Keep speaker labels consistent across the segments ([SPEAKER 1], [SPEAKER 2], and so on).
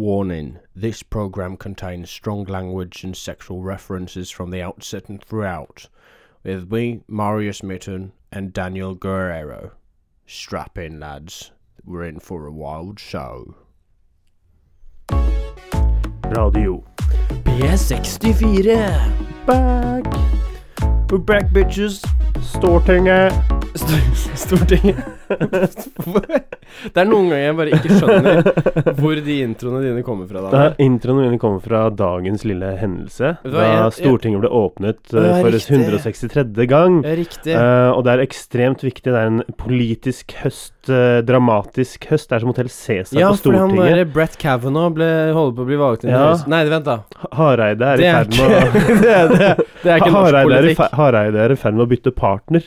[SPEAKER 1] Warning This program contains strong language and sexual references from the outset and throughout. With me, Marius Mitten, and Daniel Guerrero. Strap in, lads. We're in for a wild show.
[SPEAKER 2] Radio.
[SPEAKER 1] B64! Back! We're back, bitches!
[SPEAKER 2] Stortinget.
[SPEAKER 1] Stortinget Det er noen ganger jeg bare ikke skjønner hvor de introene dine kommer fra.
[SPEAKER 2] Det
[SPEAKER 1] Da.
[SPEAKER 2] er introen min kommer fra dagens lille hendelse.
[SPEAKER 1] Vet du hva,
[SPEAKER 2] Da
[SPEAKER 1] jeg-
[SPEAKER 2] Stortinget ble åpnet
[SPEAKER 1] Ja,
[SPEAKER 2] eh, for
[SPEAKER 1] riktig.
[SPEAKER 2] 163. gang.
[SPEAKER 1] Ja, Riktig.
[SPEAKER 2] Eh, og det er ekstremt viktig. Det er en politisk høst. eh, dramatisk høst. Det er som Hotell Cæsar
[SPEAKER 1] Ja,
[SPEAKER 2] på
[SPEAKER 1] for han eh,
[SPEAKER 2] Stortinget.
[SPEAKER 1] der Brett Kavanaugh ble, holder på å bli valgt inn i
[SPEAKER 2] Ja.
[SPEAKER 1] høst. Nei, vent, da.
[SPEAKER 2] Ha- Hareide er i
[SPEAKER 1] Det er
[SPEAKER 2] ferd med å
[SPEAKER 1] Det er, det er, det er ikke norsk
[SPEAKER 2] Hareide er i
[SPEAKER 1] politikk.
[SPEAKER 2] fe- Hareide er i ferd med å bytte partner.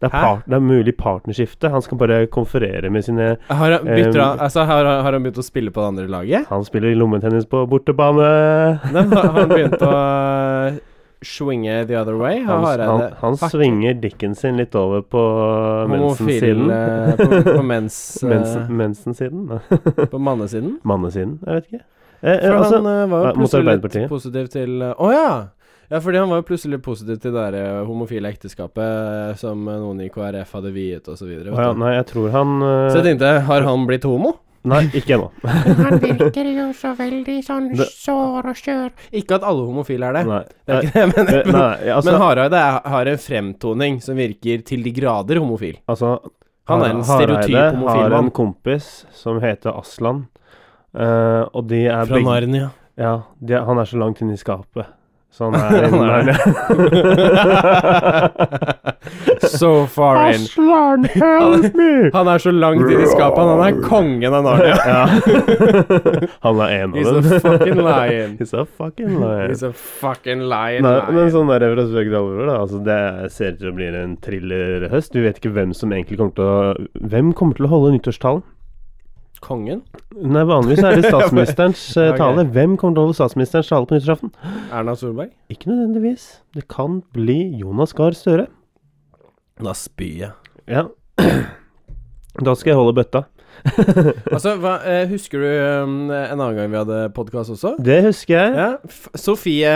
[SPEAKER 2] Det er,
[SPEAKER 1] Hæ?
[SPEAKER 2] part, det er mulig partnerskifte. Han skal bare konferere med sine
[SPEAKER 1] Har han, bytter, han-
[SPEAKER 2] Um,
[SPEAKER 1] altså, har, han- har han begynt å spille på det andre laget?
[SPEAKER 2] Han spiller lommetennis på bortebane.
[SPEAKER 1] Nei, har han begynt å eh, swinge the other way? Har
[SPEAKER 2] Han, han,
[SPEAKER 1] Hareide
[SPEAKER 2] han
[SPEAKER 1] Fuck.
[SPEAKER 2] svinger dikken sin litt over på mensensiden.
[SPEAKER 1] homofil eh, på, på, mens, eh,
[SPEAKER 2] Mensen, mensensiden? Nei,
[SPEAKER 1] på mannesiden?
[SPEAKER 2] Mannesiden? Jeg vet ikke. Eh, eh,
[SPEAKER 1] For
[SPEAKER 2] altså,
[SPEAKER 1] han eh, var
[SPEAKER 2] eh,
[SPEAKER 1] jo
[SPEAKER 2] mot
[SPEAKER 1] plutselig litt
[SPEAKER 2] Arbeiderpartiet.
[SPEAKER 1] positiv til eh, Å ja! Ja, fordi han var jo plutselig positiv til det der eh, homofile ekteskapet som eh, noen i KrF hadde viet, og Så, videre,
[SPEAKER 2] å ja,
[SPEAKER 1] vet du.
[SPEAKER 2] nei, jeg tror han eh,
[SPEAKER 1] så jeg tenkte, har han blitt homo?
[SPEAKER 2] Nei, ikke ennå.
[SPEAKER 3] Han virker jo så veldig sånn
[SPEAKER 2] Det-
[SPEAKER 3] sår og skjør.
[SPEAKER 1] Ikke at alle homofile er det.
[SPEAKER 2] Nei.
[SPEAKER 1] Det er ikke det, men,
[SPEAKER 2] Eh,
[SPEAKER 1] men,
[SPEAKER 2] nei, altså,
[SPEAKER 1] men Hareide er- har en fremtoning som virker til de grader homofil.
[SPEAKER 2] altså
[SPEAKER 1] Han er en
[SPEAKER 2] Hareide
[SPEAKER 1] stereotyp homofil
[SPEAKER 2] har en
[SPEAKER 1] mann.
[SPEAKER 2] kompis som heter Aslan, eh, og de er
[SPEAKER 1] Fra Narnia.
[SPEAKER 2] Ja, de er, han er så langt inne i skapet. Så han er
[SPEAKER 1] Han er- So far in.
[SPEAKER 2] Aslan, help me!
[SPEAKER 1] Han er så langt inn i skapet, han er kongen av Narnia.
[SPEAKER 2] Ja. Han er en
[SPEAKER 1] He's
[SPEAKER 2] av
[SPEAKER 1] a
[SPEAKER 2] dem.
[SPEAKER 1] fucking lion.
[SPEAKER 2] He's a fucking lion.
[SPEAKER 1] He's a fucking lion.
[SPEAKER 2] Nei, men
[SPEAKER 1] lion.
[SPEAKER 2] sånn der fra spøk til alvor, da. Altså, det ser ut til å bli en thrillerhøst. Du vet ikke hvem som egentlig kommer til å Hvem kommer til å holde nyttårstalen?
[SPEAKER 1] Kongen?
[SPEAKER 2] Nei, vanligvis er det statsministerens eh,
[SPEAKER 1] Ok.
[SPEAKER 2] tale. Hvem kommer til å holde statsministerens tale på nyttårsaften?
[SPEAKER 1] Erna Solberg?
[SPEAKER 2] Ikke nødvendigvis. Det kan bli Jonas Gahr Støre.
[SPEAKER 1] Da spyr jeg.
[SPEAKER 2] Ja. Da skal jeg holde bøtta.
[SPEAKER 1] Altså, hva, eh, husker du um, en annen gang vi hadde podkast også?
[SPEAKER 2] Det husker jeg.
[SPEAKER 1] Ja. F Sofie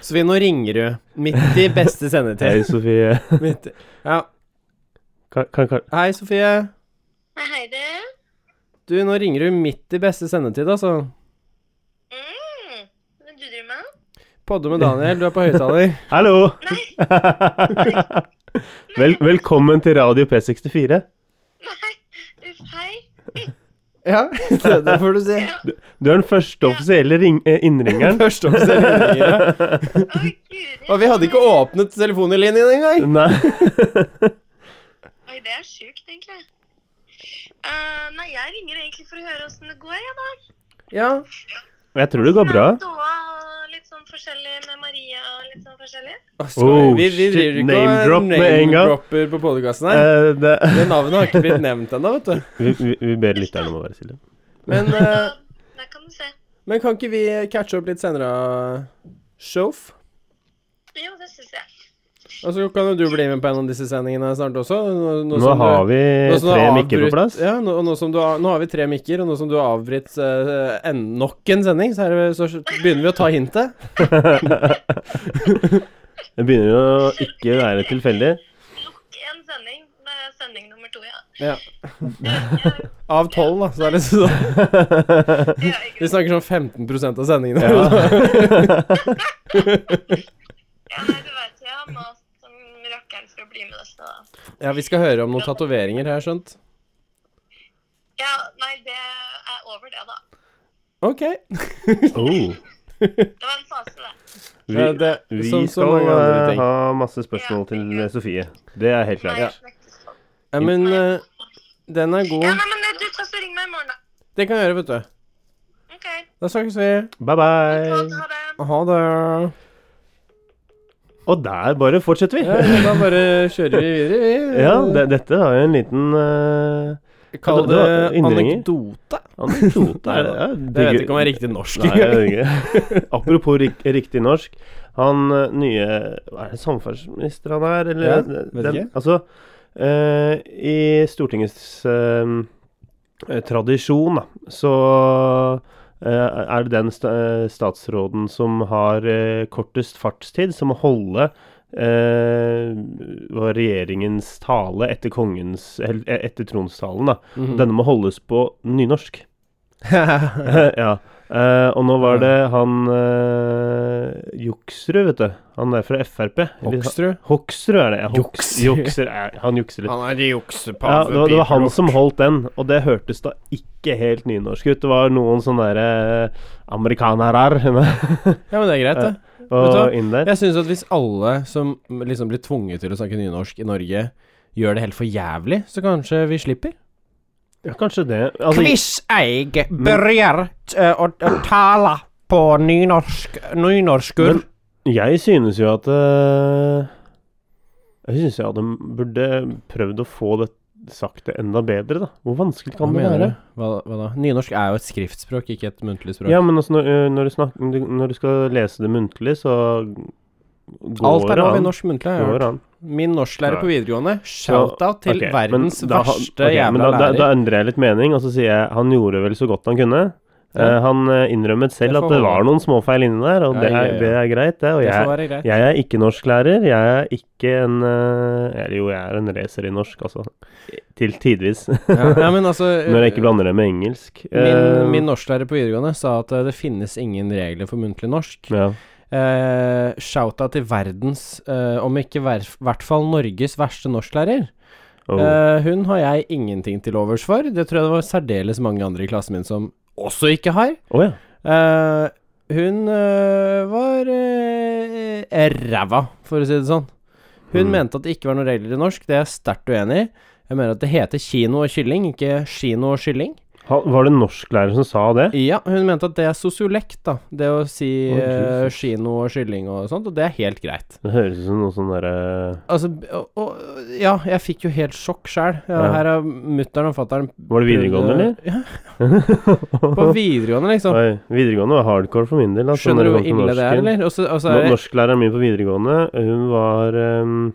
[SPEAKER 1] Sofie, nå ringer du. Midt i beste
[SPEAKER 2] Hei,
[SPEAKER 1] sendetid.
[SPEAKER 2] Sofie.
[SPEAKER 1] Midt i. Ja.
[SPEAKER 2] Kan, kan, kan.
[SPEAKER 1] Hei, Sofie.
[SPEAKER 4] Hei, du.
[SPEAKER 1] Du, nå ringer du midt i beste sendetid, altså.
[SPEAKER 4] Mm. Hva du driver med?
[SPEAKER 1] Podde med Daniel, du er på høyttaler.
[SPEAKER 2] Hallo!
[SPEAKER 4] Nei,
[SPEAKER 2] Vel, velkommen til Radio P64.
[SPEAKER 4] nei, uff, hei.
[SPEAKER 1] Ja, det, det får du si.
[SPEAKER 2] Du er den første offisielle ring eh, innringeren.
[SPEAKER 1] Første oppstilling.
[SPEAKER 4] Å, guri.
[SPEAKER 1] Og vi hadde ikke åpnet telefonlinjen engang.
[SPEAKER 2] Nei.
[SPEAKER 4] Oi, det er sjukt, egentlig. Eh, nei, jeg ringer egentlig for å høre åssen det går, jeg, da.
[SPEAKER 1] Ja.
[SPEAKER 2] Jeg tror det går bra.
[SPEAKER 4] Ståa og litt sånn forskjellig med Maria og litt sånn forskjellig.
[SPEAKER 2] Oh,
[SPEAKER 1] vi, vi
[SPEAKER 2] shit,
[SPEAKER 1] driver ikke
[SPEAKER 2] name
[SPEAKER 1] og
[SPEAKER 2] drop med en gang.
[SPEAKER 1] name-dropper på podkasten her.
[SPEAKER 2] Eh, det,
[SPEAKER 1] Det navnet har ikke blitt nevnt ennå, vet du.
[SPEAKER 2] vi, vi, vi ber lytterne om å være stille.
[SPEAKER 1] Men, eh,
[SPEAKER 4] Der kan du se.
[SPEAKER 1] men kan ikke vi catche opp litt senere, Shof?
[SPEAKER 4] Jo, det syns jeg.
[SPEAKER 1] Og så Altså, kan jo du bli med på en av disse sendingene snart også. Nå,
[SPEAKER 2] Nå har vi tre mikker på plass.
[SPEAKER 1] Ja, nå, og nå, som du har, nå har vi tre mikker, og nå som du har avbrutt eh, en- nok en sending, så, er det, så begynner vi å ta hintet.
[SPEAKER 2] Det begynner å ikke være tilfeldig.
[SPEAKER 4] Lukk en sending. Det er sending nummer to, ja.
[SPEAKER 1] Ja.
[SPEAKER 4] Ja,
[SPEAKER 1] Av tolv, da. Så er det sånn.
[SPEAKER 4] ja,
[SPEAKER 1] Vi
[SPEAKER 4] ikke sant.
[SPEAKER 1] snakker sånn 15 av sendingene.
[SPEAKER 4] ja, nei, du vet, jeg har mast som rakkeren for å bli med dette. da.
[SPEAKER 1] Ja, vi skal høre om noen tatoveringer, har jeg skjønt.
[SPEAKER 4] Ja, nei, det er over det, da.
[SPEAKER 1] OK.
[SPEAKER 2] Oh.
[SPEAKER 4] Det var en fase, det.
[SPEAKER 2] Vi,
[SPEAKER 1] Ja, det-
[SPEAKER 2] vi
[SPEAKER 1] som så
[SPEAKER 2] skal
[SPEAKER 1] mange andre ting.
[SPEAKER 2] eh, ha masse spørsmål til eh, Sofie. Det er helt
[SPEAKER 4] Nei,
[SPEAKER 2] klart.
[SPEAKER 4] faktisk.
[SPEAKER 1] Ja, men eh, den er
[SPEAKER 4] Ja,
[SPEAKER 1] god.
[SPEAKER 4] nei, men eh, du tar så ring meg i morgen, da.
[SPEAKER 1] Det kan jeg gjøre, vet du.
[SPEAKER 4] OK.
[SPEAKER 1] Da snakkes vi.
[SPEAKER 2] Bye, bye.
[SPEAKER 4] Flott, Ha det.
[SPEAKER 1] Ha det.
[SPEAKER 2] Og der bare fortsetter
[SPEAKER 1] Ja,
[SPEAKER 2] vi.
[SPEAKER 1] da bare kjører vi videre, vi.
[SPEAKER 2] Ja, det, dette var jo en liten eh,
[SPEAKER 1] Kall
[SPEAKER 2] det
[SPEAKER 1] det
[SPEAKER 2] var innringer.
[SPEAKER 1] anekdote.
[SPEAKER 2] anekdote.
[SPEAKER 1] Nei,
[SPEAKER 2] her. Ja,
[SPEAKER 1] Det vet
[SPEAKER 2] digger-
[SPEAKER 1] jeg ikke om jeg er riktig norsk
[SPEAKER 2] Nei,
[SPEAKER 1] engang.
[SPEAKER 2] jeg vet ikke. Apropos rik riktig norsk. Han eh, nye Er det samferdselsminister han er, eller?
[SPEAKER 1] Ja, vet ikke.
[SPEAKER 2] Altså, eh, i Stortingets eh, eh, tradisjon, da, så eh, er det den sta eh, statsråden som har eh, kortest fartstid, som må holde eh, hva regjeringens tale etter kongens el- eh, Etter tronstalen, da.
[SPEAKER 1] Mhm. Mm.
[SPEAKER 2] Denne må holdes på nynorsk. ja. Eh, og nå var det han uh, Juksrud, vet du. Han er fra Frp. Eller-
[SPEAKER 1] Hoksrud?
[SPEAKER 2] Hoksrud er det. ja. Hoks,
[SPEAKER 1] Jukser.
[SPEAKER 2] jukser, er- han jukser litt.
[SPEAKER 1] Han er
[SPEAKER 2] Ja,
[SPEAKER 1] juksepave.
[SPEAKER 2] det var, det var han som holdt den, og det hørtes da ikke helt nynorsk ut. Det var noen sånne derre amerikanerar
[SPEAKER 1] Ja, men det er greit, det. Vet
[SPEAKER 2] og
[SPEAKER 1] du
[SPEAKER 2] inn der.
[SPEAKER 1] Jeg synes at hvis alle som liksom blir tvunget til å snakke nynorsk i Norge, gjør det helt for jævlig, så kanskje vi slipper?
[SPEAKER 2] Ja, kanskje det. Altså,
[SPEAKER 1] Hvis jeg begynner å, tale på nynorsk nynorskur
[SPEAKER 2] Men- jeg synes jo at eh, Jeg synes jeg hadde burde prøvd å få det sagt det enda bedre, da. Hvor vanskelig
[SPEAKER 1] Hva
[SPEAKER 2] kan det
[SPEAKER 1] mener
[SPEAKER 2] være?
[SPEAKER 1] du? Hva, hva da? Nynorsk er jo et skriftspråk, ikke et muntlig språk.
[SPEAKER 2] Ja, men altså, når, eh, når, du snak, når du skal lese det muntlig, så går
[SPEAKER 1] Alt er
[SPEAKER 2] det
[SPEAKER 1] lov i
[SPEAKER 2] an.
[SPEAKER 1] norsk muntlig. har jeg hørt.
[SPEAKER 2] Går an.
[SPEAKER 1] Min norsklærer på videregående,
[SPEAKER 2] Så,
[SPEAKER 1] shout-out til
[SPEAKER 2] ok, men
[SPEAKER 1] verdens
[SPEAKER 2] da han-
[SPEAKER 1] verste
[SPEAKER 2] ok, men
[SPEAKER 1] jævla
[SPEAKER 2] da, da,
[SPEAKER 1] lærer.
[SPEAKER 2] da endrer jeg litt mening, og så sier jeg han gjorde vel så godt han kunne.
[SPEAKER 1] Ja.
[SPEAKER 2] Eh, han eh, innrømmet selv
[SPEAKER 1] Det
[SPEAKER 2] at
[SPEAKER 1] får
[SPEAKER 2] det
[SPEAKER 1] holde.
[SPEAKER 2] var noen småfeil inni der, og
[SPEAKER 1] Ja,
[SPEAKER 2] det,
[SPEAKER 1] ja,
[SPEAKER 2] er,
[SPEAKER 1] ja.
[SPEAKER 2] det er greit, det. Og
[SPEAKER 1] det får
[SPEAKER 2] jeg,
[SPEAKER 1] være greit.
[SPEAKER 2] jeg er ikke norsklærer. Jeg er ikke en eh, Eller jo, jeg er en racer i norsk, altså. Til tidvis.
[SPEAKER 1] Ja, ja, men altså øh,
[SPEAKER 2] Når jeg ikke blander det med engelsk. Eh,
[SPEAKER 1] Min, min norsklærer på videregående sa at eh, det finnes ingen regler for muntlig norsk.
[SPEAKER 2] ja.
[SPEAKER 1] Eh, Shouta til verdens, eh, om ikke i hvert fall Norges verste norsklærer.
[SPEAKER 2] oh.
[SPEAKER 1] Eh, hun har jeg ingenting til overs for. Det tror jeg det var særdeles mange andre i klassen min som også ikke har.
[SPEAKER 2] Å, ja.
[SPEAKER 1] Eh, hun eh, var eh, ræva, for å si det sånn. Hun
[SPEAKER 2] Mm.
[SPEAKER 1] mente at det ikke var noen regler i norsk. Det er jeg sterkt uenig i. Jeg mener at det heter kino og kylling, ikke kino og kylling.
[SPEAKER 2] Ha, var det en norsklærer som sa det?
[SPEAKER 1] Ja, hun mente at det er sosiolekt, da. Det å si
[SPEAKER 2] Å,
[SPEAKER 1] eh,
[SPEAKER 2] Jesus.
[SPEAKER 1] kino og kylling og sånt, og det er helt greit.
[SPEAKER 2] Det høres ut som noe sånn derre
[SPEAKER 1] Altså, b- og, og ja, jeg fikk jo helt sjokk sjæl. Ja,
[SPEAKER 2] Ja.
[SPEAKER 1] Her er mutter'n og fatter'n
[SPEAKER 2] Var det videregående, eller?
[SPEAKER 1] Ja. På videregående, liksom.
[SPEAKER 2] Oi, videregående var hardcore for min del. Altså,
[SPEAKER 1] Skjønner du
[SPEAKER 2] når
[SPEAKER 1] hvor
[SPEAKER 2] det kom til
[SPEAKER 1] ille det er,
[SPEAKER 2] norsken.
[SPEAKER 1] eller? Og så og så
[SPEAKER 2] Nå-
[SPEAKER 1] er det
[SPEAKER 2] Norsklæreren min på videregående, hun var ehm,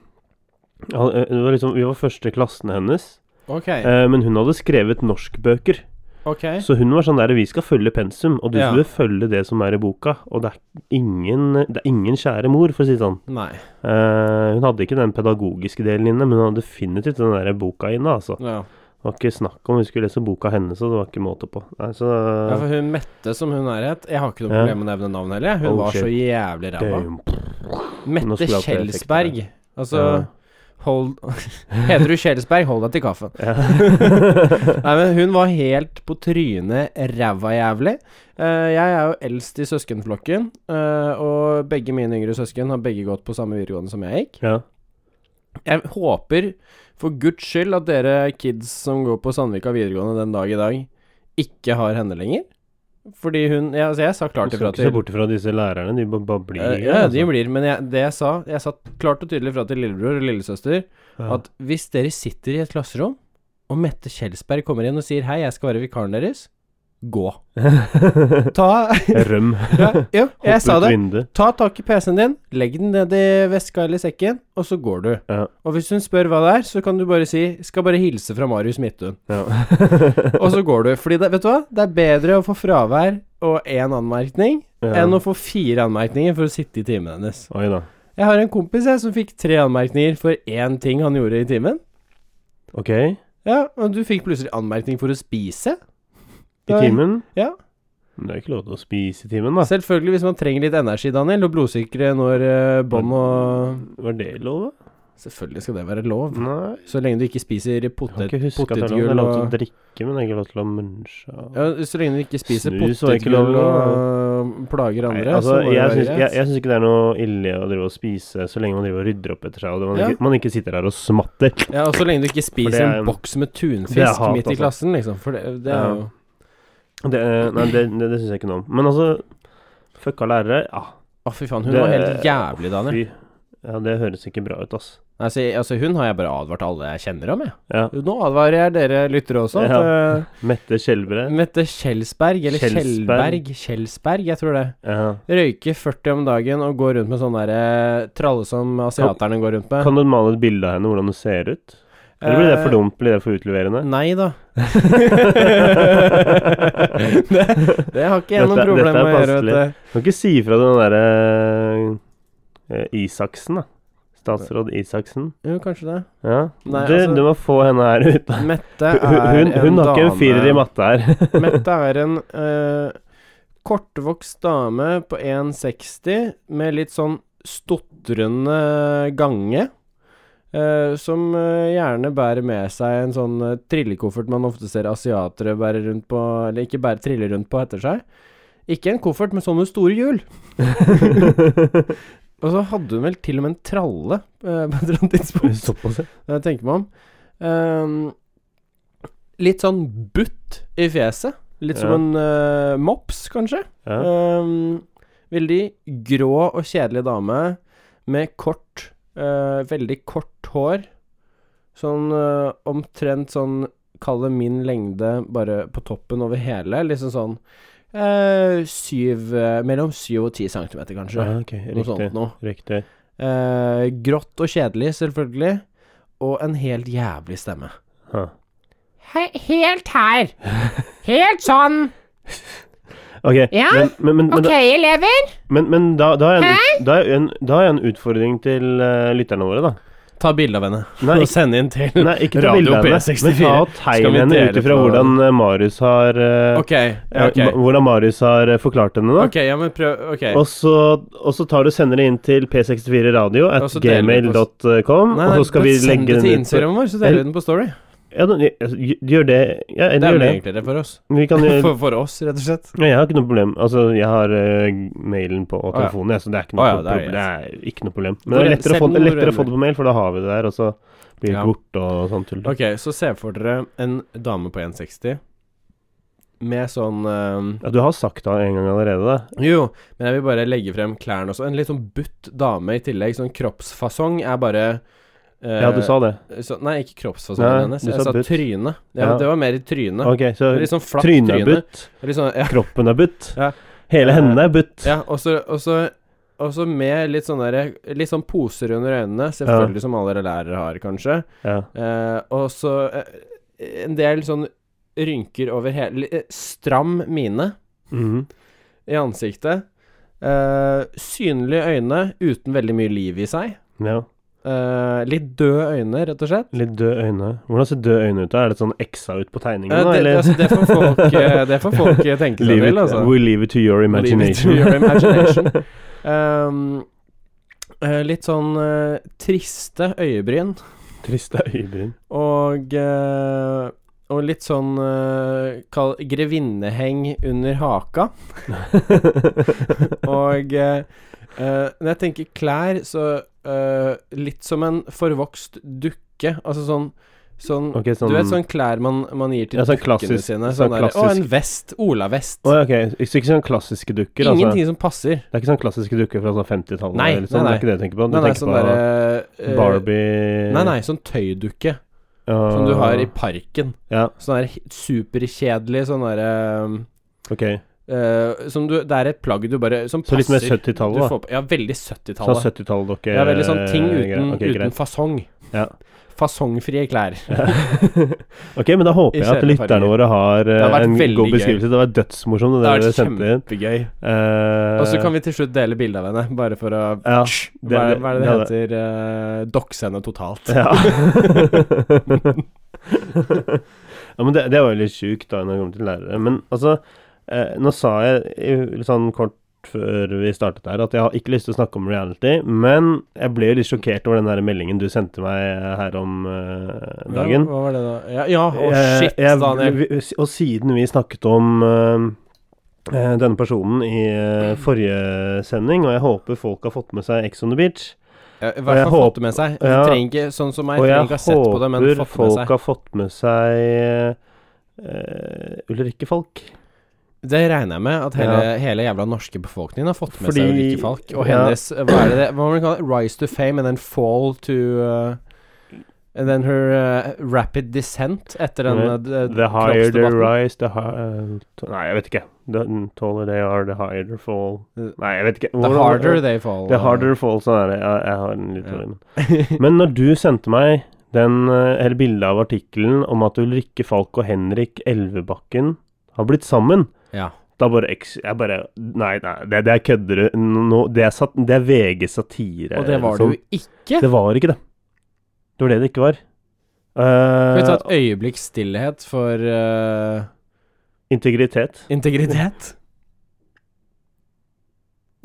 [SPEAKER 2] han- eh, det var liksom, Vi var første klassen hennes,
[SPEAKER 1] Ok,
[SPEAKER 2] eh, men hun hadde skrevet norskbøker.
[SPEAKER 1] ok.
[SPEAKER 2] Så hun var sånn der Vi skal følge pensum, og du
[SPEAKER 1] Ja.
[SPEAKER 2] skal følge det som er i boka. Og det er ingen, det er ingen kjære mor, for å si det sånn.
[SPEAKER 1] Nei.
[SPEAKER 2] Eh, hun hadde ikke den pedagogiske delen inne, men hun hadde definitivt den der boka inne, altså. Det
[SPEAKER 1] Ja.
[SPEAKER 2] var ikke snakk om vi skulle lese boka hennes, og det var ikke måte på. Nei,
[SPEAKER 1] ja,
[SPEAKER 2] så
[SPEAKER 1] for hun Mette, som hun er het Jeg har ikke noe
[SPEAKER 2] Ja.
[SPEAKER 1] problem med å nevne navn heller. jeg. Hun
[SPEAKER 2] Oh,
[SPEAKER 1] var
[SPEAKER 2] shit.
[SPEAKER 1] så jævlig ræva.
[SPEAKER 2] Damn. Nå
[SPEAKER 1] Mette
[SPEAKER 2] skulle jeg hatt flere
[SPEAKER 1] Kjelsberg. Altså
[SPEAKER 2] Ja.
[SPEAKER 1] Hold Heter du Kjelsberg, hold deg til kaffen.
[SPEAKER 2] Ja.
[SPEAKER 1] Nei, men hun var helt på trynet ræva jævlig. Eh, jeg er jo eldst i søskenflokken, eh, og begge mine yngre søsken har begge gått på samme videregående som jeg gikk.
[SPEAKER 2] ja.
[SPEAKER 1] Jeg håper for guds skyld at dere kids som går på Sandvika videregående den dag i dag, ikke har henne lenger. Fordi hun jeg, altså Jeg sa klart
[SPEAKER 2] Du skal
[SPEAKER 1] ifra
[SPEAKER 2] ikke se
[SPEAKER 1] til
[SPEAKER 2] bort altså. ifra disse lærerne, de bare, bare blir
[SPEAKER 1] Eh, Ja, de blir, men jeg, det jeg sa Jeg sa klart og tydelig fra til lillebror og lillesøster
[SPEAKER 2] Ja.
[SPEAKER 1] at hvis dere sitter i et klasserom, og Mette Kjelsberg kommer inn og sier 'hei, jeg skal være vikaren deres', gå. Ta
[SPEAKER 2] Røm.
[SPEAKER 1] ja, Jo, jeg sa
[SPEAKER 2] Hopp ut
[SPEAKER 1] det.
[SPEAKER 2] vinduet.
[SPEAKER 1] Ta tak i PC-en din, legg den ned i veska eller sekken, og så går du.
[SPEAKER 2] Ja.
[SPEAKER 1] Og hvis hun spør hva det er, så kan du bare si 'skal bare hilse fra Marius Midtun'.
[SPEAKER 2] Ja.
[SPEAKER 1] Og så går du. Fordi det, vet du hva, det er bedre å få fravær og én anmerkning
[SPEAKER 2] Ja.
[SPEAKER 1] enn å få fire anmerkninger for å sitte i timen hennes.
[SPEAKER 2] Oi da.
[SPEAKER 1] Jeg har en kompis jeg som fikk tre anmerkninger for én ting han gjorde i timen.
[SPEAKER 2] Ok. I
[SPEAKER 1] Ja, og du fikk plutselig anmerkning for å spise. Nei.
[SPEAKER 2] timen?
[SPEAKER 1] Ja.
[SPEAKER 2] Men det er ikke lov til å spise i timen, da.
[SPEAKER 1] Selvfølgelig hvis man trenger litt energi, Daniel, og blodsikre når eh, bånd og
[SPEAKER 2] Var det lov, da?
[SPEAKER 1] Selvfølgelig skal det være lov.
[SPEAKER 2] Nei.
[SPEAKER 1] Så lenge du ikke spiser
[SPEAKER 2] Jeg kan
[SPEAKER 1] potet,
[SPEAKER 2] ikke huske at det er lov. Det er
[SPEAKER 1] potetgull
[SPEAKER 2] lov til å
[SPEAKER 1] og
[SPEAKER 2] drikke, men det er ikke lov til å munche.
[SPEAKER 1] ja, Så lenge du ikke spiser
[SPEAKER 2] Snus var ikke lov,
[SPEAKER 1] potetgull og plager
[SPEAKER 2] Nei,
[SPEAKER 1] andre,
[SPEAKER 2] altså,
[SPEAKER 1] så må det
[SPEAKER 2] jeg,
[SPEAKER 1] være
[SPEAKER 2] syns, jeg,
[SPEAKER 1] greit.
[SPEAKER 2] jeg syns ikke det er noe ille å drive og spise så lenge man driver og rydder opp etter seg, og det, man,
[SPEAKER 1] Ja.
[SPEAKER 2] ikke, man ikke sitter der og smatter.
[SPEAKER 1] Ja, og så lenge du ikke spiser
[SPEAKER 2] er-
[SPEAKER 1] en boks med
[SPEAKER 2] det er
[SPEAKER 1] tunfisk
[SPEAKER 2] hat,
[SPEAKER 1] midt i
[SPEAKER 2] altså.
[SPEAKER 1] klassen, liksom. For det, det er
[SPEAKER 2] Ja.
[SPEAKER 1] jo
[SPEAKER 2] Det, nei, det, det, det syns jeg ikke noe om. Men altså, fucka lærere, ja.
[SPEAKER 1] Å, fy faen. Hun
[SPEAKER 2] Det-
[SPEAKER 1] var helt jævlig, Daniel.
[SPEAKER 2] Fy. Ja, det høres ikke bra ut, ass.
[SPEAKER 1] Altså, altså, hun har jeg bare advart alle jeg kjenner om, jeg.
[SPEAKER 2] Ja.
[SPEAKER 1] Nå advarer jeg dere lyttere også. At,
[SPEAKER 2] Mette
[SPEAKER 1] eh,
[SPEAKER 2] Skjelbred.
[SPEAKER 1] Mette Kjelsberg, eller
[SPEAKER 2] Kjelsberg.
[SPEAKER 1] Kjellberg Kjelsberg, jeg tror det.
[SPEAKER 2] Ja.
[SPEAKER 1] Røyke 40 om dagen og gå rundt med sånn derre tralle som eh, asiaterne går rundt med.
[SPEAKER 2] Kan du male et bilde av henne, hvordan hun ser ut? Eller blir
[SPEAKER 1] Eh.
[SPEAKER 2] det for dumt? Blir det for utleverende?
[SPEAKER 1] Nei da.
[SPEAKER 2] det,
[SPEAKER 1] Det har ikke jeg noe
[SPEAKER 2] Dette-
[SPEAKER 1] problem med
[SPEAKER 2] dette er
[SPEAKER 1] å gjøre, vet du.
[SPEAKER 2] Kan ikke si ifra til den derre eh, Isaksen, da. Statsråd Isaksen.
[SPEAKER 1] Jo, kanskje det.
[SPEAKER 2] Ja.
[SPEAKER 1] Nei,
[SPEAKER 2] du,
[SPEAKER 1] altså-
[SPEAKER 2] du må få henne her ut. da.
[SPEAKER 1] Mette
[SPEAKER 2] Hun,
[SPEAKER 1] er
[SPEAKER 2] hun, hun har ikke en firer i matte her.
[SPEAKER 1] Mette er en eh, kortvokst dame på 1,60 med litt sånn stotrende gange. eh, som eh, gjerne bærer med seg en sånn eh, trillekoffert man ofte ser asiatere bære rundt på Eller ikke bære triller rundt på, heter seg. Ikke en koffert med sånne store hjul. Og så hadde hun vel til og med en tralle eh, på et eller annet tidspunkt.
[SPEAKER 2] Såpass, ja.
[SPEAKER 1] Jeg tenker meg om. Ehm, litt sånn butt i fjeset. Litt som
[SPEAKER 2] Ja.
[SPEAKER 1] en eh, mops, kanskje.
[SPEAKER 2] ja.
[SPEAKER 1] Ehm, veldig grå og kjedelig dame med kort, eh, veldig kort hår. Sånn eh, omtrent sånn Kall det min lengde, bare på toppen over hele. Liksom sånn eh, syv eh, Mellom syv og ti centimeter, kanskje.
[SPEAKER 2] Ja, ok,
[SPEAKER 1] noe sånt
[SPEAKER 2] Riktig.
[SPEAKER 1] noe.
[SPEAKER 2] Riktig.
[SPEAKER 1] Eh, grått og kjedelig, selvfølgelig. Og en helt jævlig stemme.
[SPEAKER 2] Ha.
[SPEAKER 5] He helt her. Helt sånn.
[SPEAKER 2] Ok,
[SPEAKER 5] Ja?
[SPEAKER 2] men, men, men, men,
[SPEAKER 5] Ok, elever.
[SPEAKER 2] men, men da, da, er en, ut- da, er en, da er en utfordring til eh, lytterne våre, da.
[SPEAKER 1] Ta bilde av henne
[SPEAKER 2] Nei,
[SPEAKER 1] og send inn til
[SPEAKER 2] Nei, ikke ta
[SPEAKER 1] Radio
[SPEAKER 2] bilde av henne,
[SPEAKER 1] P64.
[SPEAKER 2] men ta og
[SPEAKER 1] Skal
[SPEAKER 2] tegn
[SPEAKER 1] vi
[SPEAKER 2] henne
[SPEAKER 1] dele
[SPEAKER 2] ut ifra
[SPEAKER 1] på-
[SPEAKER 2] hvordan eh, Marius har eh,
[SPEAKER 1] Ok,
[SPEAKER 2] eh,
[SPEAKER 1] ok.
[SPEAKER 2] hva- Hvordan Marius har eh, forklart henne, da.
[SPEAKER 1] Ok, ja, men prøv Ok.
[SPEAKER 2] Og så, og så tar du sender det inn til p64radio at
[SPEAKER 1] Og så deler vi på-
[SPEAKER 2] gmail.com,
[SPEAKER 1] Nei,
[SPEAKER 2] og
[SPEAKER 1] nei,
[SPEAKER 2] så skal vi
[SPEAKER 1] bare send
[SPEAKER 2] legge
[SPEAKER 1] det til
[SPEAKER 2] den ut. på-
[SPEAKER 1] Instagram vår, så deler vi den på Story.
[SPEAKER 2] Ja, da- ja, altså, gj- gjør det. Ja,
[SPEAKER 1] Det er
[SPEAKER 2] gjør
[SPEAKER 1] vel
[SPEAKER 2] det.
[SPEAKER 1] enklere for oss.
[SPEAKER 2] Vi kan gjøre
[SPEAKER 1] For, for oss, rett og slett.
[SPEAKER 2] ja, Jeg har ikke noe problem. Altså, jeg har eh, mailen på og
[SPEAKER 1] Å, ja.
[SPEAKER 2] telefonen, jeg, så det er
[SPEAKER 1] Å,
[SPEAKER 2] ikke noe,
[SPEAKER 1] ja,
[SPEAKER 2] pro-
[SPEAKER 1] det er
[SPEAKER 2] problem. det er ikke noe problem. Men
[SPEAKER 1] Hvor
[SPEAKER 2] det
[SPEAKER 1] er-
[SPEAKER 2] er lettere, å få,
[SPEAKER 1] send
[SPEAKER 2] det er
[SPEAKER 1] hvor
[SPEAKER 2] lettere å
[SPEAKER 1] er
[SPEAKER 2] få det på mail, for da har vi det der, og så blir det
[SPEAKER 1] Ja.
[SPEAKER 2] ikke borte og sånn tull.
[SPEAKER 1] Ok, så se for dere en dame på 1,60 med sånn eh,
[SPEAKER 2] Ja, du har sagt det en gang allerede, da.
[SPEAKER 1] Jo, men jeg vil bare legge frem klærne også. En litt sånn butt dame i tillegg. Sånn kroppsfasong er bare eh,
[SPEAKER 2] Ja, du sa det.
[SPEAKER 1] Så, nei, ikke kroppsfasongen
[SPEAKER 2] Nei,
[SPEAKER 1] hennes.
[SPEAKER 2] du
[SPEAKER 1] Jeg
[SPEAKER 2] sa
[SPEAKER 1] sa
[SPEAKER 2] butt.
[SPEAKER 1] tryne. Ja,
[SPEAKER 2] Ja.
[SPEAKER 1] Det var mer i trynet.
[SPEAKER 2] Ok, så
[SPEAKER 1] Litt sånn flatt
[SPEAKER 2] trynet
[SPEAKER 1] tryne.
[SPEAKER 2] er butt,
[SPEAKER 1] Litt sånn, ja,
[SPEAKER 2] kroppen er butt,
[SPEAKER 1] Ja.
[SPEAKER 2] hele
[SPEAKER 1] Eh,
[SPEAKER 2] henne er butt.
[SPEAKER 1] ja og så- og så og så med litt sånn derre Litt sånn poser under øynene, selvfølgelig som alle dere lærere har, kanskje.
[SPEAKER 2] Ja.
[SPEAKER 1] Eh, og så eh, en del sånn rynker over hele li- eh, Stram mine
[SPEAKER 2] Mhm.
[SPEAKER 1] i ansiktet. Eh, synlige øyne uten veldig mye liv i seg.
[SPEAKER 2] ja.
[SPEAKER 1] Eh, litt døde øyne, rett og slett.
[SPEAKER 2] Litt døde øyne. Hvordan ser døde øyne ut? da? Er det sånn X-a ut på tegningen?
[SPEAKER 1] Eh,
[SPEAKER 2] da,
[SPEAKER 1] det,
[SPEAKER 2] eller?
[SPEAKER 1] altså, det får folk, eh, det får folk eh, tenke seg
[SPEAKER 2] Leave it,
[SPEAKER 1] til, altså.
[SPEAKER 2] We leave it to your imagination.
[SPEAKER 1] Leave it to your imagination. Ehm, eh, litt sånn eh, triste øyebryn
[SPEAKER 2] Triste øyebryn.
[SPEAKER 1] og eh, og litt sånn eh, kall, grevinneheng under haka. Og eh, eh, når jeg tenker klær, så eh, litt som en forvokst dukke. Altså sånn, sånn
[SPEAKER 2] Ok, sånn
[SPEAKER 1] Du vet sånn klær man, man gir til
[SPEAKER 2] Ja, sånn
[SPEAKER 1] dukkene
[SPEAKER 2] klassisk-
[SPEAKER 1] sine?
[SPEAKER 2] sånn
[SPEAKER 1] Sånn der, Å, en
[SPEAKER 2] klassisk-
[SPEAKER 1] vest. Olavest.
[SPEAKER 2] Å, ja, ok. Så ikke sånn klassiske dukker, altså?
[SPEAKER 1] Ingenting som passer.
[SPEAKER 2] Det er ikke sånn klassiske dukker fra sånn 50-tallet?
[SPEAKER 1] Nei,
[SPEAKER 2] eller sånn,
[SPEAKER 1] nei,
[SPEAKER 2] Det er ikke det du tenker på? Du
[SPEAKER 1] Nei, nei,
[SPEAKER 2] tenker
[SPEAKER 1] sånn
[SPEAKER 2] på
[SPEAKER 1] derre eh,
[SPEAKER 2] Barbie
[SPEAKER 1] Nei, nei, sånn tøydukke
[SPEAKER 2] Ja.
[SPEAKER 1] som du har i parken.
[SPEAKER 2] Ja,
[SPEAKER 1] Sånn der superkjedelig sånn derre
[SPEAKER 2] ok.
[SPEAKER 1] eh, Som du Det er et plagg du bare Som
[SPEAKER 2] Så
[SPEAKER 1] passer.
[SPEAKER 2] litt mer 70-tallet,
[SPEAKER 1] Du
[SPEAKER 2] da.
[SPEAKER 1] får på- Ja, veldig
[SPEAKER 2] Sånn
[SPEAKER 1] 70-tallet.
[SPEAKER 2] 70-talldokke
[SPEAKER 1] ja, veldig sånn ting uten,
[SPEAKER 2] okay,
[SPEAKER 1] uten fasong.
[SPEAKER 2] Eh, Ja.
[SPEAKER 1] Fasongfrie klær.
[SPEAKER 2] Ok, men da håper
[SPEAKER 1] I
[SPEAKER 2] jeg at
[SPEAKER 1] kjedelige
[SPEAKER 2] lytterne
[SPEAKER 1] farger.
[SPEAKER 2] våre har eh,
[SPEAKER 1] har vært
[SPEAKER 2] en
[SPEAKER 1] veldig
[SPEAKER 2] god
[SPEAKER 1] gøy.
[SPEAKER 2] beskrivelse. Det var dødsmorsomt, det
[SPEAKER 1] Det
[SPEAKER 2] der
[SPEAKER 1] er
[SPEAKER 2] dere sendte inn. Eh.
[SPEAKER 1] kjempegøy. Og så kan vi til slutt dele bilde av henne, bare for å
[SPEAKER 2] Ja,
[SPEAKER 1] hva, er- hva er det det
[SPEAKER 2] hadde-
[SPEAKER 1] heter? Uh, Dokse henne totalt.
[SPEAKER 2] Ja. ja, men det, det var jo litt sjukt da når jeg kom til lærere. Men altså, eh, nå sa jeg i- litt sånn kort før vi startet her, at jeg har ikke lyst til å snakke om reality, men jeg ble jo litt sjokkert over den der meldingen du sendte meg her om eh, dagen.
[SPEAKER 1] Ja, hva var det da? Ja, ja å
[SPEAKER 2] Jeg-
[SPEAKER 1] shit,
[SPEAKER 2] jeg-
[SPEAKER 1] Daniel.
[SPEAKER 2] vi- Og siden vi snakket om eh, eh, denne personen i eh, forrige sending, og jeg håper folk har fått med seg Ex on the Beach
[SPEAKER 1] Ja, I
[SPEAKER 2] og
[SPEAKER 1] hvert
[SPEAKER 2] jeg
[SPEAKER 1] fall fått
[SPEAKER 2] håper-
[SPEAKER 1] det med seg. Du
[SPEAKER 2] ja.
[SPEAKER 1] trenger ikke, sånn som meg,
[SPEAKER 2] Og
[SPEAKER 1] trenger
[SPEAKER 2] jeg
[SPEAKER 1] ikke ha sett på det, men fått
[SPEAKER 2] håper
[SPEAKER 1] det med
[SPEAKER 2] folk
[SPEAKER 1] seg.
[SPEAKER 2] har fått med seg eh, Ulrikke Falk.
[SPEAKER 1] Det regner jeg med at hele, hele jævla norske befolkningen har fått med
[SPEAKER 2] Fordi-
[SPEAKER 1] seg Ulrikke Falk. Og
[SPEAKER 2] ja.
[SPEAKER 1] hennes Hva er det det Hva man kaller det? Rise to fame and then fall to uh, And then her uh, rapid descent etter den
[SPEAKER 2] Ja.
[SPEAKER 1] uh, d-
[SPEAKER 2] The higher the
[SPEAKER 1] kroppsdebatten.
[SPEAKER 2] rise, the higher Nei, jeg vet ikke. The mm, taller they are, the higher they fall
[SPEAKER 1] The-
[SPEAKER 2] Nei, jeg vet ikke.
[SPEAKER 1] Eh, The harder they fall.
[SPEAKER 2] The
[SPEAKER 1] uh,
[SPEAKER 2] harder they fall, sånn er det. Jeg, jeg har en litt dårlig men. Men når du sendte meg den, eh, eller bildet av artikkelen om at Ulrikke Falk og Henrik Elvebakken har blitt sammen.
[SPEAKER 1] Ja.
[SPEAKER 2] Da bare eks- Jeg bare Nei, nei, det, det er kødder du nå- Det er, sat- det er VG-satire.
[SPEAKER 1] Og det var
[SPEAKER 2] liksom.
[SPEAKER 1] det jo ikke.
[SPEAKER 2] Det var ikke det. Det var det det ikke var.
[SPEAKER 1] Skal
[SPEAKER 2] Eh,
[SPEAKER 1] vi ta et øyeblikks stillhet for eh,
[SPEAKER 2] integritet.
[SPEAKER 1] integritet?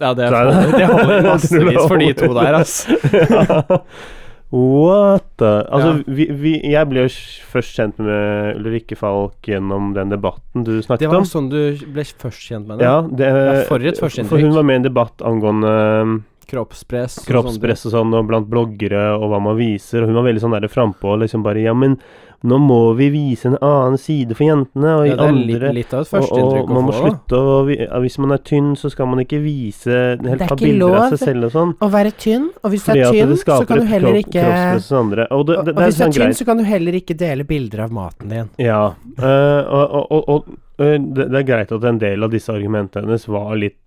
[SPEAKER 1] Ja, det
[SPEAKER 2] Nei,
[SPEAKER 1] holder,
[SPEAKER 2] nei.
[SPEAKER 1] det holder
[SPEAKER 2] Jeg tror det
[SPEAKER 1] massevis for de to
[SPEAKER 2] holder.
[SPEAKER 1] der, ass.
[SPEAKER 2] What the Altså,
[SPEAKER 1] Ja.
[SPEAKER 2] vi, vi, jeg ble jo s- først kjent med Ulrikke Falk gjennom den debatten du
[SPEAKER 1] Det
[SPEAKER 2] snakket
[SPEAKER 1] var
[SPEAKER 2] om.
[SPEAKER 1] sånn du ble først kjent med det.
[SPEAKER 2] Ja, det,
[SPEAKER 1] Ja, for et førsteinntrykk.
[SPEAKER 2] for hun var med i en debatt angående um,
[SPEAKER 1] Kroppspress. og
[SPEAKER 2] kroppspress og sånn, og blant bloggere, og hva man viser, og hun var veldig sånn der frampå og liksom bare Ja, men nå må vi vise en annen side for jentene,
[SPEAKER 1] sånne ting.
[SPEAKER 2] og i
[SPEAKER 1] Ja, det er li-
[SPEAKER 2] andre
[SPEAKER 1] litt av et
[SPEAKER 2] og, og
[SPEAKER 1] førsteinntrykk å
[SPEAKER 2] man
[SPEAKER 1] få.
[SPEAKER 2] må
[SPEAKER 1] da.
[SPEAKER 2] slutte å vi- ja, Hvis man er tynn, så skal man ikke vise
[SPEAKER 6] Det
[SPEAKER 2] helt
[SPEAKER 6] er
[SPEAKER 2] ta
[SPEAKER 6] ikke
[SPEAKER 2] bilder av
[SPEAKER 6] lov.
[SPEAKER 2] seg selv og sånn.
[SPEAKER 6] Å være tynn, og hvis du
[SPEAKER 2] Fordi
[SPEAKER 6] er
[SPEAKER 2] at
[SPEAKER 6] tynn,
[SPEAKER 2] det
[SPEAKER 6] så
[SPEAKER 2] skaper
[SPEAKER 6] kan du
[SPEAKER 2] et
[SPEAKER 6] heller
[SPEAKER 2] kropp,
[SPEAKER 6] ikke
[SPEAKER 2] kroppspress hos andre. Og det,
[SPEAKER 6] Og,
[SPEAKER 2] det,
[SPEAKER 6] og
[SPEAKER 2] det er
[SPEAKER 6] hvis du er
[SPEAKER 2] sånn
[SPEAKER 6] tynn,
[SPEAKER 2] greit.
[SPEAKER 6] så kan du heller ikke dele bilder av maten din.
[SPEAKER 2] Ja. eh, og og, og, og eh, det, det er greit at en del av disse argumentene hennes var litt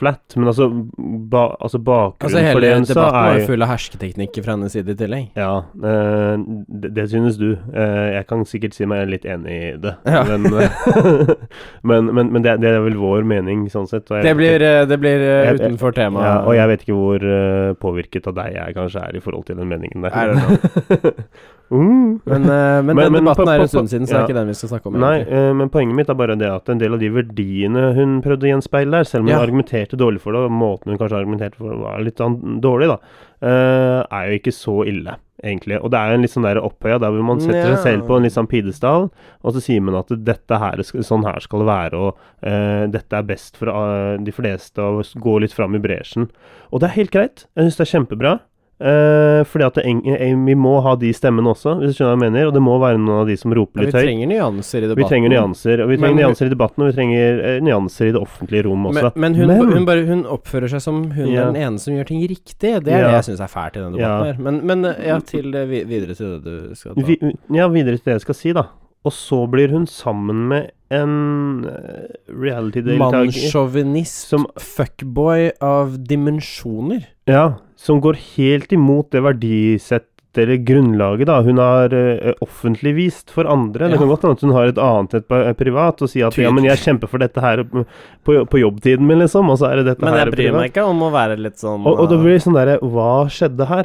[SPEAKER 2] flat, men altså, ba, altså bakgrunnen
[SPEAKER 1] Altså,
[SPEAKER 2] for det
[SPEAKER 1] hele
[SPEAKER 2] hun sa,
[SPEAKER 1] debatten var
[SPEAKER 2] er
[SPEAKER 1] jo
[SPEAKER 2] jo
[SPEAKER 1] full av hersketeknikker fra hennes side i tillegg.
[SPEAKER 2] Ja, eh, det, det synes du. Eh, jeg kan sikkert si meg litt enig i det.
[SPEAKER 1] Ja.
[SPEAKER 2] Men, eh, men, men, men det, det er vel vår mening, sånn sett. og jeg
[SPEAKER 1] Det
[SPEAKER 2] vet
[SPEAKER 1] blir,
[SPEAKER 2] ikke-
[SPEAKER 1] eh, det blir eh,
[SPEAKER 2] Jeg- jeg-
[SPEAKER 1] utenfor temaet.
[SPEAKER 2] ja, Og jeg vet ikke hvor eh, påvirket av deg jeg kanskje er i forhold til den meningen
[SPEAKER 1] I
[SPEAKER 2] der.
[SPEAKER 1] don't know.
[SPEAKER 2] Mm.
[SPEAKER 1] Men, eh, men
[SPEAKER 2] Men-
[SPEAKER 1] den
[SPEAKER 2] men
[SPEAKER 1] debatten
[SPEAKER 2] på-
[SPEAKER 1] er
[SPEAKER 2] på-
[SPEAKER 1] en stund siden, så det
[SPEAKER 2] ja.
[SPEAKER 1] er ikke den vi skal snakke om.
[SPEAKER 2] Nei,
[SPEAKER 1] egentlig.
[SPEAKER 2] eh, men poenget mitt er bare det at en del av de verdiene hun prøvde å gjenspeile der, selv om hun
[SPEAKER 1] Ja.
[SPEAKER 2] argumenterte dårlig for det, og måten hun kanskje argumenterte for det var litt an- dårlig, da, eh, er jo ikke så ille, egentlig. Og det er jo en litt sånn der opphøya der hvor man setter seg
[SPEAKER 1] Nja.
[SPEAKER 2] selv på en litt sånn pidestall, og så sier man at dette her, sk- sånn her skal det være, og eh, dette er best for eh, de fleste, og s- gå litt fram i bresjen. Og det er helt greit. Jeg syns det er kjempebra. Eh, fordi at det, eng- eh, vi må ha de stemmene også, hvis du skjønner hva jeg mener. Og det må være noen av de som roper
[SPEAKER 1] Ja, vi
[SPEAKER 2] litt høyt.
[SPEAKER 1] trenger nyanser i debatten.
[SPEAKER 2] Vi trenger nyanser, og vi trenger
[SPEAKER 1] Men-
[SPEAKER 2] nyanser i debatten, og vi trenger eh, nyanser i det offentlige rom også.
[SPEAKER 1] Men, men, hun,
[SPEAKER 2] Men-
[SPEAKER 1] hun, bare, hun oppfører seg som hun
[SPEAKER 2] Ja.
[SPEAKER 1] er den ene som gjør ting riktig. Det er
[SPEAKER 2] Ja.
[SPEAKER 1] det jeg syns er fælt i denne debatten.
[SPEAKER 2] Ja.
[SPEAKER 1] her Men, men eh, ja, til det, vi- videre til det du skal ta.
[SPEAKER 2] vi, ja, videre til det jeg skal si, da. Og så blir hun sammen med en eh, reality-deltaker
[SPEAKER 1] Mannssjåvinist,
[SPEAKER 2] som,
[SPEAKER 1] fuckboy av dimensjoner.
[SPEAKER 2] ja, som går helt imot det verdisett eller grunnlaget da hun har eh, offentlig vist for andre.
[SPEAKER 1] Ja.
[SPEAKER 2] Det kan godt hende at hun har et annet et pa- privat og sier at ja, men jeg kjemper for dette her på, på jobbtiden min, liksom, og så er det dette
[SPEAKER 1] Men
[SPEAKER 2] her
[SPEAKER 1] jeg bryr
[SPEAKER 2] privat.
[SPEAKER 1] meg ikke om å være litt sånn
[SPEAKER 2] Og, og det
[SPEAKER 1] eh,
[SPEAKER 2] blir sånn derre Hva skjedde her?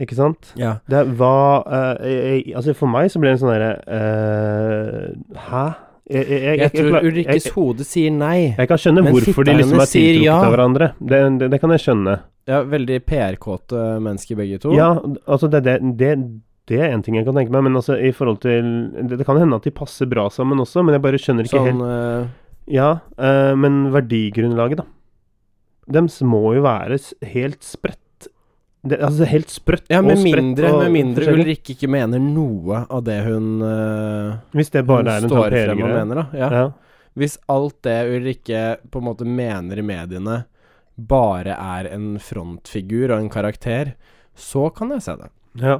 [SPEAKER 2] Ikke sant?
[SPEAKER 1] ja.
[SPEAKER 2] Det er hva eh, jeg, jeg- Altså, for meg så blir det en sånn derre eh, Hæ? Jeg, jeg, jeg,
[SPEAKER 1] Jeg tror
[SPEAKER 2] jeg-
[SPEAKER 1] Ulrikkes
[SPEAKER 2] jeg,
[SPEAKER 1] hode sier nei.
[SPEAKER 2] jeg kan skjønne
[SPEAKER 1] Men
[SPEAKER 2] hvorfor de
[SPEAKER 1] fitta
[SPEAKER 2] liksom
[SPEAKER 1] hennes
[SPEAKER 2] er
[SPEAKER 1] sier
[SPEAKER 2] tiltrukket
[SPEAKER 1] ja.
[SPEAKER 2] av hverandre. Det, det, det kan jeg skjønne.
[SPEAKER 1] Ja, veldig PR-kåte mennesker begge to.
[SPEAKER 2] Ja, altså, det, det, det, det er en ting jeg kan tenke meg, men altså, i forhold til Det, det kan hende at de passer bra sammen også, men jeg bare skjønner ikke
[SPEAKER 1] sånn
[SPEAKER 2] helt
[SPEAKER 1] eh,
[SPEAKER 2] Ja, eh, men verdigrunnlaget, da. Dems må jo være s- helt spredt. Det, altså helt sprøtt
[SPEAKER 1] Ja,
[SPEAKER 2] og
[SPEAKER 1] med
[SPEAKER 2] spredt
[SPEAKER 1] mindre,
[SPEAKER 2] og
[SPEAKER 1] med mindre
[SPEAKER 2] forskjellig.
[SPEAKER 1] Ulrikke ikke mener noe av det hun, eh,
[SPEAKER 2] Hvis det
[SPEAKER 1] hun
[SPEAKER 2] bare er en
[SPEAKER 1] står frem og
[SPEAKER 2] tampergreie.
[SPEAKER 1] mener, da. Ja.
[SPEAKER 2] Ja.
[SPEAKER 1] Hvis alt det Ulrikke på en måte mener i mediene, bare er en frontfigur og en karakter, så kan jeg se det.
[SPEAKER 2] Ja.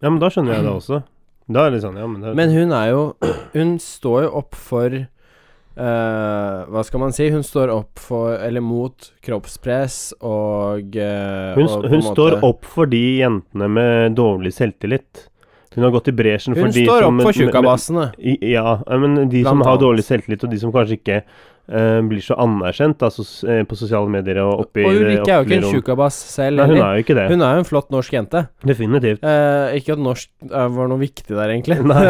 [SPEAKER 2] ja, men da skjønner jeg det også. Da er det sånn, ja, men, det,
[SPEAKER 1] Men hun er jo Hun står jo opp for eh, hva skal man si? Hun står opp for, eller mot, kroppspress og eh,
[SPEAKER 2] hun,
[SPEAKER 1] og på en
[SPEAKER 2] hun
[SPEAKER 1] måte-
[SPEAKER 2] står opp for de jentene med dårlig selvtillit. Hun har gått i bresjen for
[SPEAKER 1] Hun
[SPEAKER 2] de
[SPEAKER 1] står
[SPEAKER 2] som
[SPEAKER 1] opp for
[SPEAKER 2] men- men-
[SPEAKER 1] tjukkabassene.
[SPEAKER 2] i- Ja, eh, men de
[SPEAKER 1] Blant
[SPEAKER 2] som har
[SPEAKER 1] annet.
[SPEAKER 2] dårlig selvtillit, og de som kanskje ikke eh, blir så anerkjent altså, s- eh, på sosiale medier og oppi
[SPEAKER 1] Og
[SPEAKER 2] det
[SPEAKER 1] Ulrikke er jo ikke en
[SPEAKER 2] offentlige rom.
[SPEAKER 1] tjukkabass selv.
[SPEAKER 2] Nei, hun
[SPEAKER 1] heller.
[SPEAKER 2] er jo ikke det.
[SPEAKER 1] Hun er jo en flott norsk jente.
[SPEAKER 2] Definitivt.
[SPEAKER 1] Eh, ikke at norsk eh, var noe viktig der, egentlig.
[SPEAKER 2] Nei.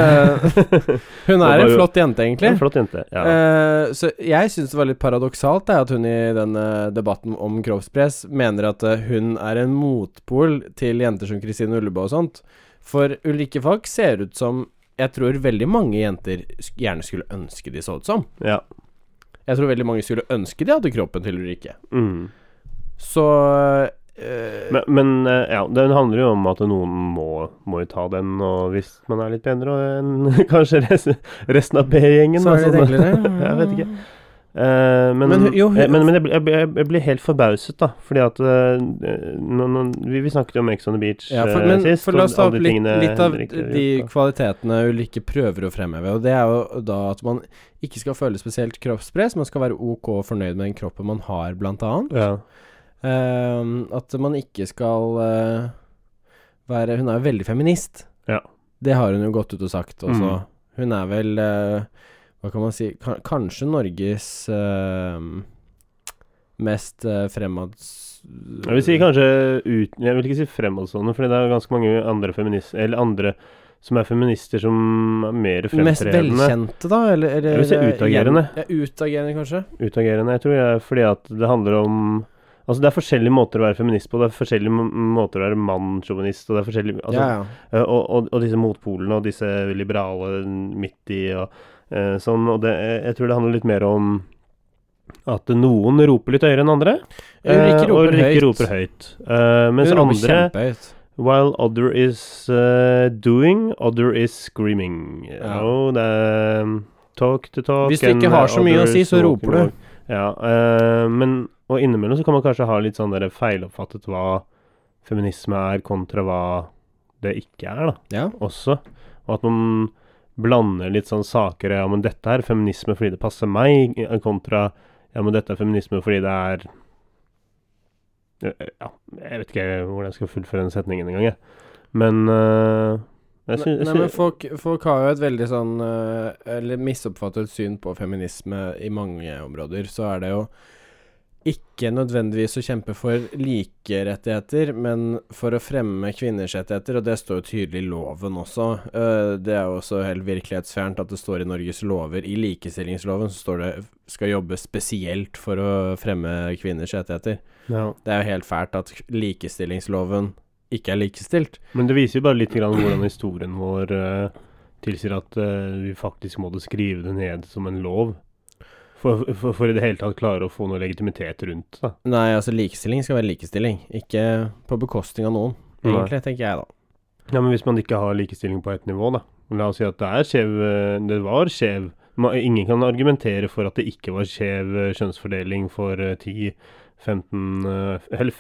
[SPEAKER 1] hun
[SPEAKER 2] var
[SPEAKER 1] er en
[SPEAKER 2] jo-
[SPEAKER 1] flott jente, egentlig.
[SPEAKER 2] En flott jente. Ja.
[SPEAKER 1] Eh, så jeg syns det var litt paradoksalt det, at hun i denne debatten om kroppspress mener at eh, hun er en motpol til jenter som Kristine Ullebø og sånt. For Ulrikke Falk ser ut som jeg tror veldig mange jenter sk- gjerne skulle ønske de så ut som.
[SPEAKER 2] ja.
[SPEAKER 1] Jeg tror veldig mange skulle ønske de hadde kroppen til Ulrikke.
[SPEAKER 2] Mm.
[SPEAKER 1] Så eh,
[SPEAKER 2] Men, men eh, ja, den handler jo om at noen må, må jo ta den, og hvis man er litt bedre enn kanskje res- resten av B-gjengen
[SPEAKER 1] Så er det
[SPEAKER 2] da, sånn-
[SPEAKER 1] litt enklere.
[SPEAKER 2] jeg vet ikke. Eh, men,
[SPEAKER 1] Men
[SPEAKER 2] men,
[SPEAKER 1] hun- jo, hun-
[SPEAKER 2] men, men jeg, blir- jeg, blir- jeg, blir helt forbauset, da. Fordi at eh, nå- nå- vi, vi snakket jo om Ex on the Beach
[SPEAKER 1] Ja, for,
[SPEAKER 2] eh,
[SPEAKER 1] men
[SPEAKER 2] sist.
[SPEAKER 1] for
[SPEAKER 2] og
[SPEAKER 1] la oss ta
[SPEAKER 2] alle
[SPEAKER 1] opp
[SPEAKER 2] de
[SPEAKER 1] litt,
[SPEAKER 2] tingene
[SPEAKER 1] litt av
[SPEAKER 2] Henrik eh, har
[SPEAKER 1] de
[SPEAKER 2] gjort, da.
[SPEAKER 1] kvalitetene Ulrikke prøver å fremheve, og det er jo da at man ikke skal føle spesielt kroppspress, man skal være ok fornøyd med den kroppen man har, blant annet.
[SPEAKER 2] ja.
[SPEAKER 1] Ehm, at man ikke skal eh, være Hun er jo veldig feminist.
[SPEAKER 2] Ja.
[SPEAKER 1] Det har hun jo gått ut og sagt også.
[SPEAKER 2] Mm.
[SPEAKER 1] Hun er vel eh, Hva kan man si ka- Kanskje Norges eh, mest eh, fremads...
[SPEAKER 2] Jeg vil si kanskje ut, Jeg vil ikke si fremadstående, Fordi det er jo ganske mange andre feminister Eller andre som er feminister som er mer
[SPEAKER 1] Mest
[SPEAKER 2] fremtredende.
[SPEAKER 1] velkjente, da? Eller, eller
[SPEAKER 2] Jeg vil si utagerende.
[SPEAKER 1] Ja, utagerende, kanskje.
[SPEAKER 2] Utagerende. Jeg tror det er fordi at det handler om Altså Det er forskjellige måter å være feminist på. Det er forskjellige m- måter å være mannsjåvinist og det er forskjellige altså,
[SPEAKER 1] ja, ja.
[SPEAKER 2] Eh, Og, og, og disse motpolene og disse liberale midt i og eh, sånn. Og det, jeg tror det handler litt mer om at noen roper litt høyere enn andre.
[SPEAKER 1] Ulrikke
[SPEAKER 2] eh,
[SPEAKER 1] roper
[SPEAKER 2] og Ulrikke
[SPEAKER 1] høyt.
[SPEAKER 2] roper høyt. Eh, mens
[SPEAKER 1] Hun roper
[SPEAKER 2] andre
[SPEAKER 1] kjempehøyt.
[SPEAKER 2] While other is eh, doing, other is screaming.
[SPEAKER 1] Ja.
[SPEAKER 2] Og det er mm, talk to talk
[SPEAKER 1] Hvis du ikke
[SPEAKER 2] and
[SPEAKER 1] har så mye å
[SPEAKER 2] others
[SPEAKER 1] si, så
[SPEAKER 2] walking
[SPEAKER 1] roper du.
[SPEAKER 2] along. Ja, eh, men og innimellom så kan man kanskje ha litt sånn der feiloppfattet hva feminisme er, kontra hva det ikke er, da
[SPEAKER 1] Ja.
[SPEAKER 2] også. Og at man blander litt sånn saker Ja, men dette er feminisme fordi det passer meg, eh, kontra Ja, men dette er feminisme fordi det er eh, Ja, jeg vet ikke hvordan jeg skal fullføre den setningen engang, jeg. Men øh, jeg
[SPEAKER 1] Nei,
[SPEAKER 2] syns
[SPEAKER 1] nei, men folk, folk har jo et veldig sånn eh, Eller misoppfattet syn på feminisme i mange områder. Så er det jo ikke nødvendigvis å kjempe for like rettigheter, men for å fremme kvinners rettigheter, og det står jo tydelig i loven også. Eh, det er jo også helt virkelighetsfjernt at det står i Norges lover. I likestillingsloven så står det skal jobbe spesielt for å fremme kvinners rettigheter.
[SPEAKER 2] ja.
[SPEAKER 1] Det er jo helt fælt at likestillingsloven ikke er likestilt.
[SPEAKER 2] Men det viser jo bare litt grann hvordan historien vår øh, tilsier at øh, vi faktisk måtte skrive det ned som en lov. For, for, for i det hele tatt klare å få noe legitimitet rundt det.
[SPEAKER 1] Nei, altså likestilling skal være likestilling, ikke på bekostning av noen, egentlig, tenker jeg da.
[SPEAKER 2] Ja, men hvis man ikke har likestilling på ett nivå, da. La oss si at det er skjev eh, Det var skjev ma- Ingen kan argumentere for at det ikke var skjev eh, kjønnsfordeling for eh, 10-15 eh, Eller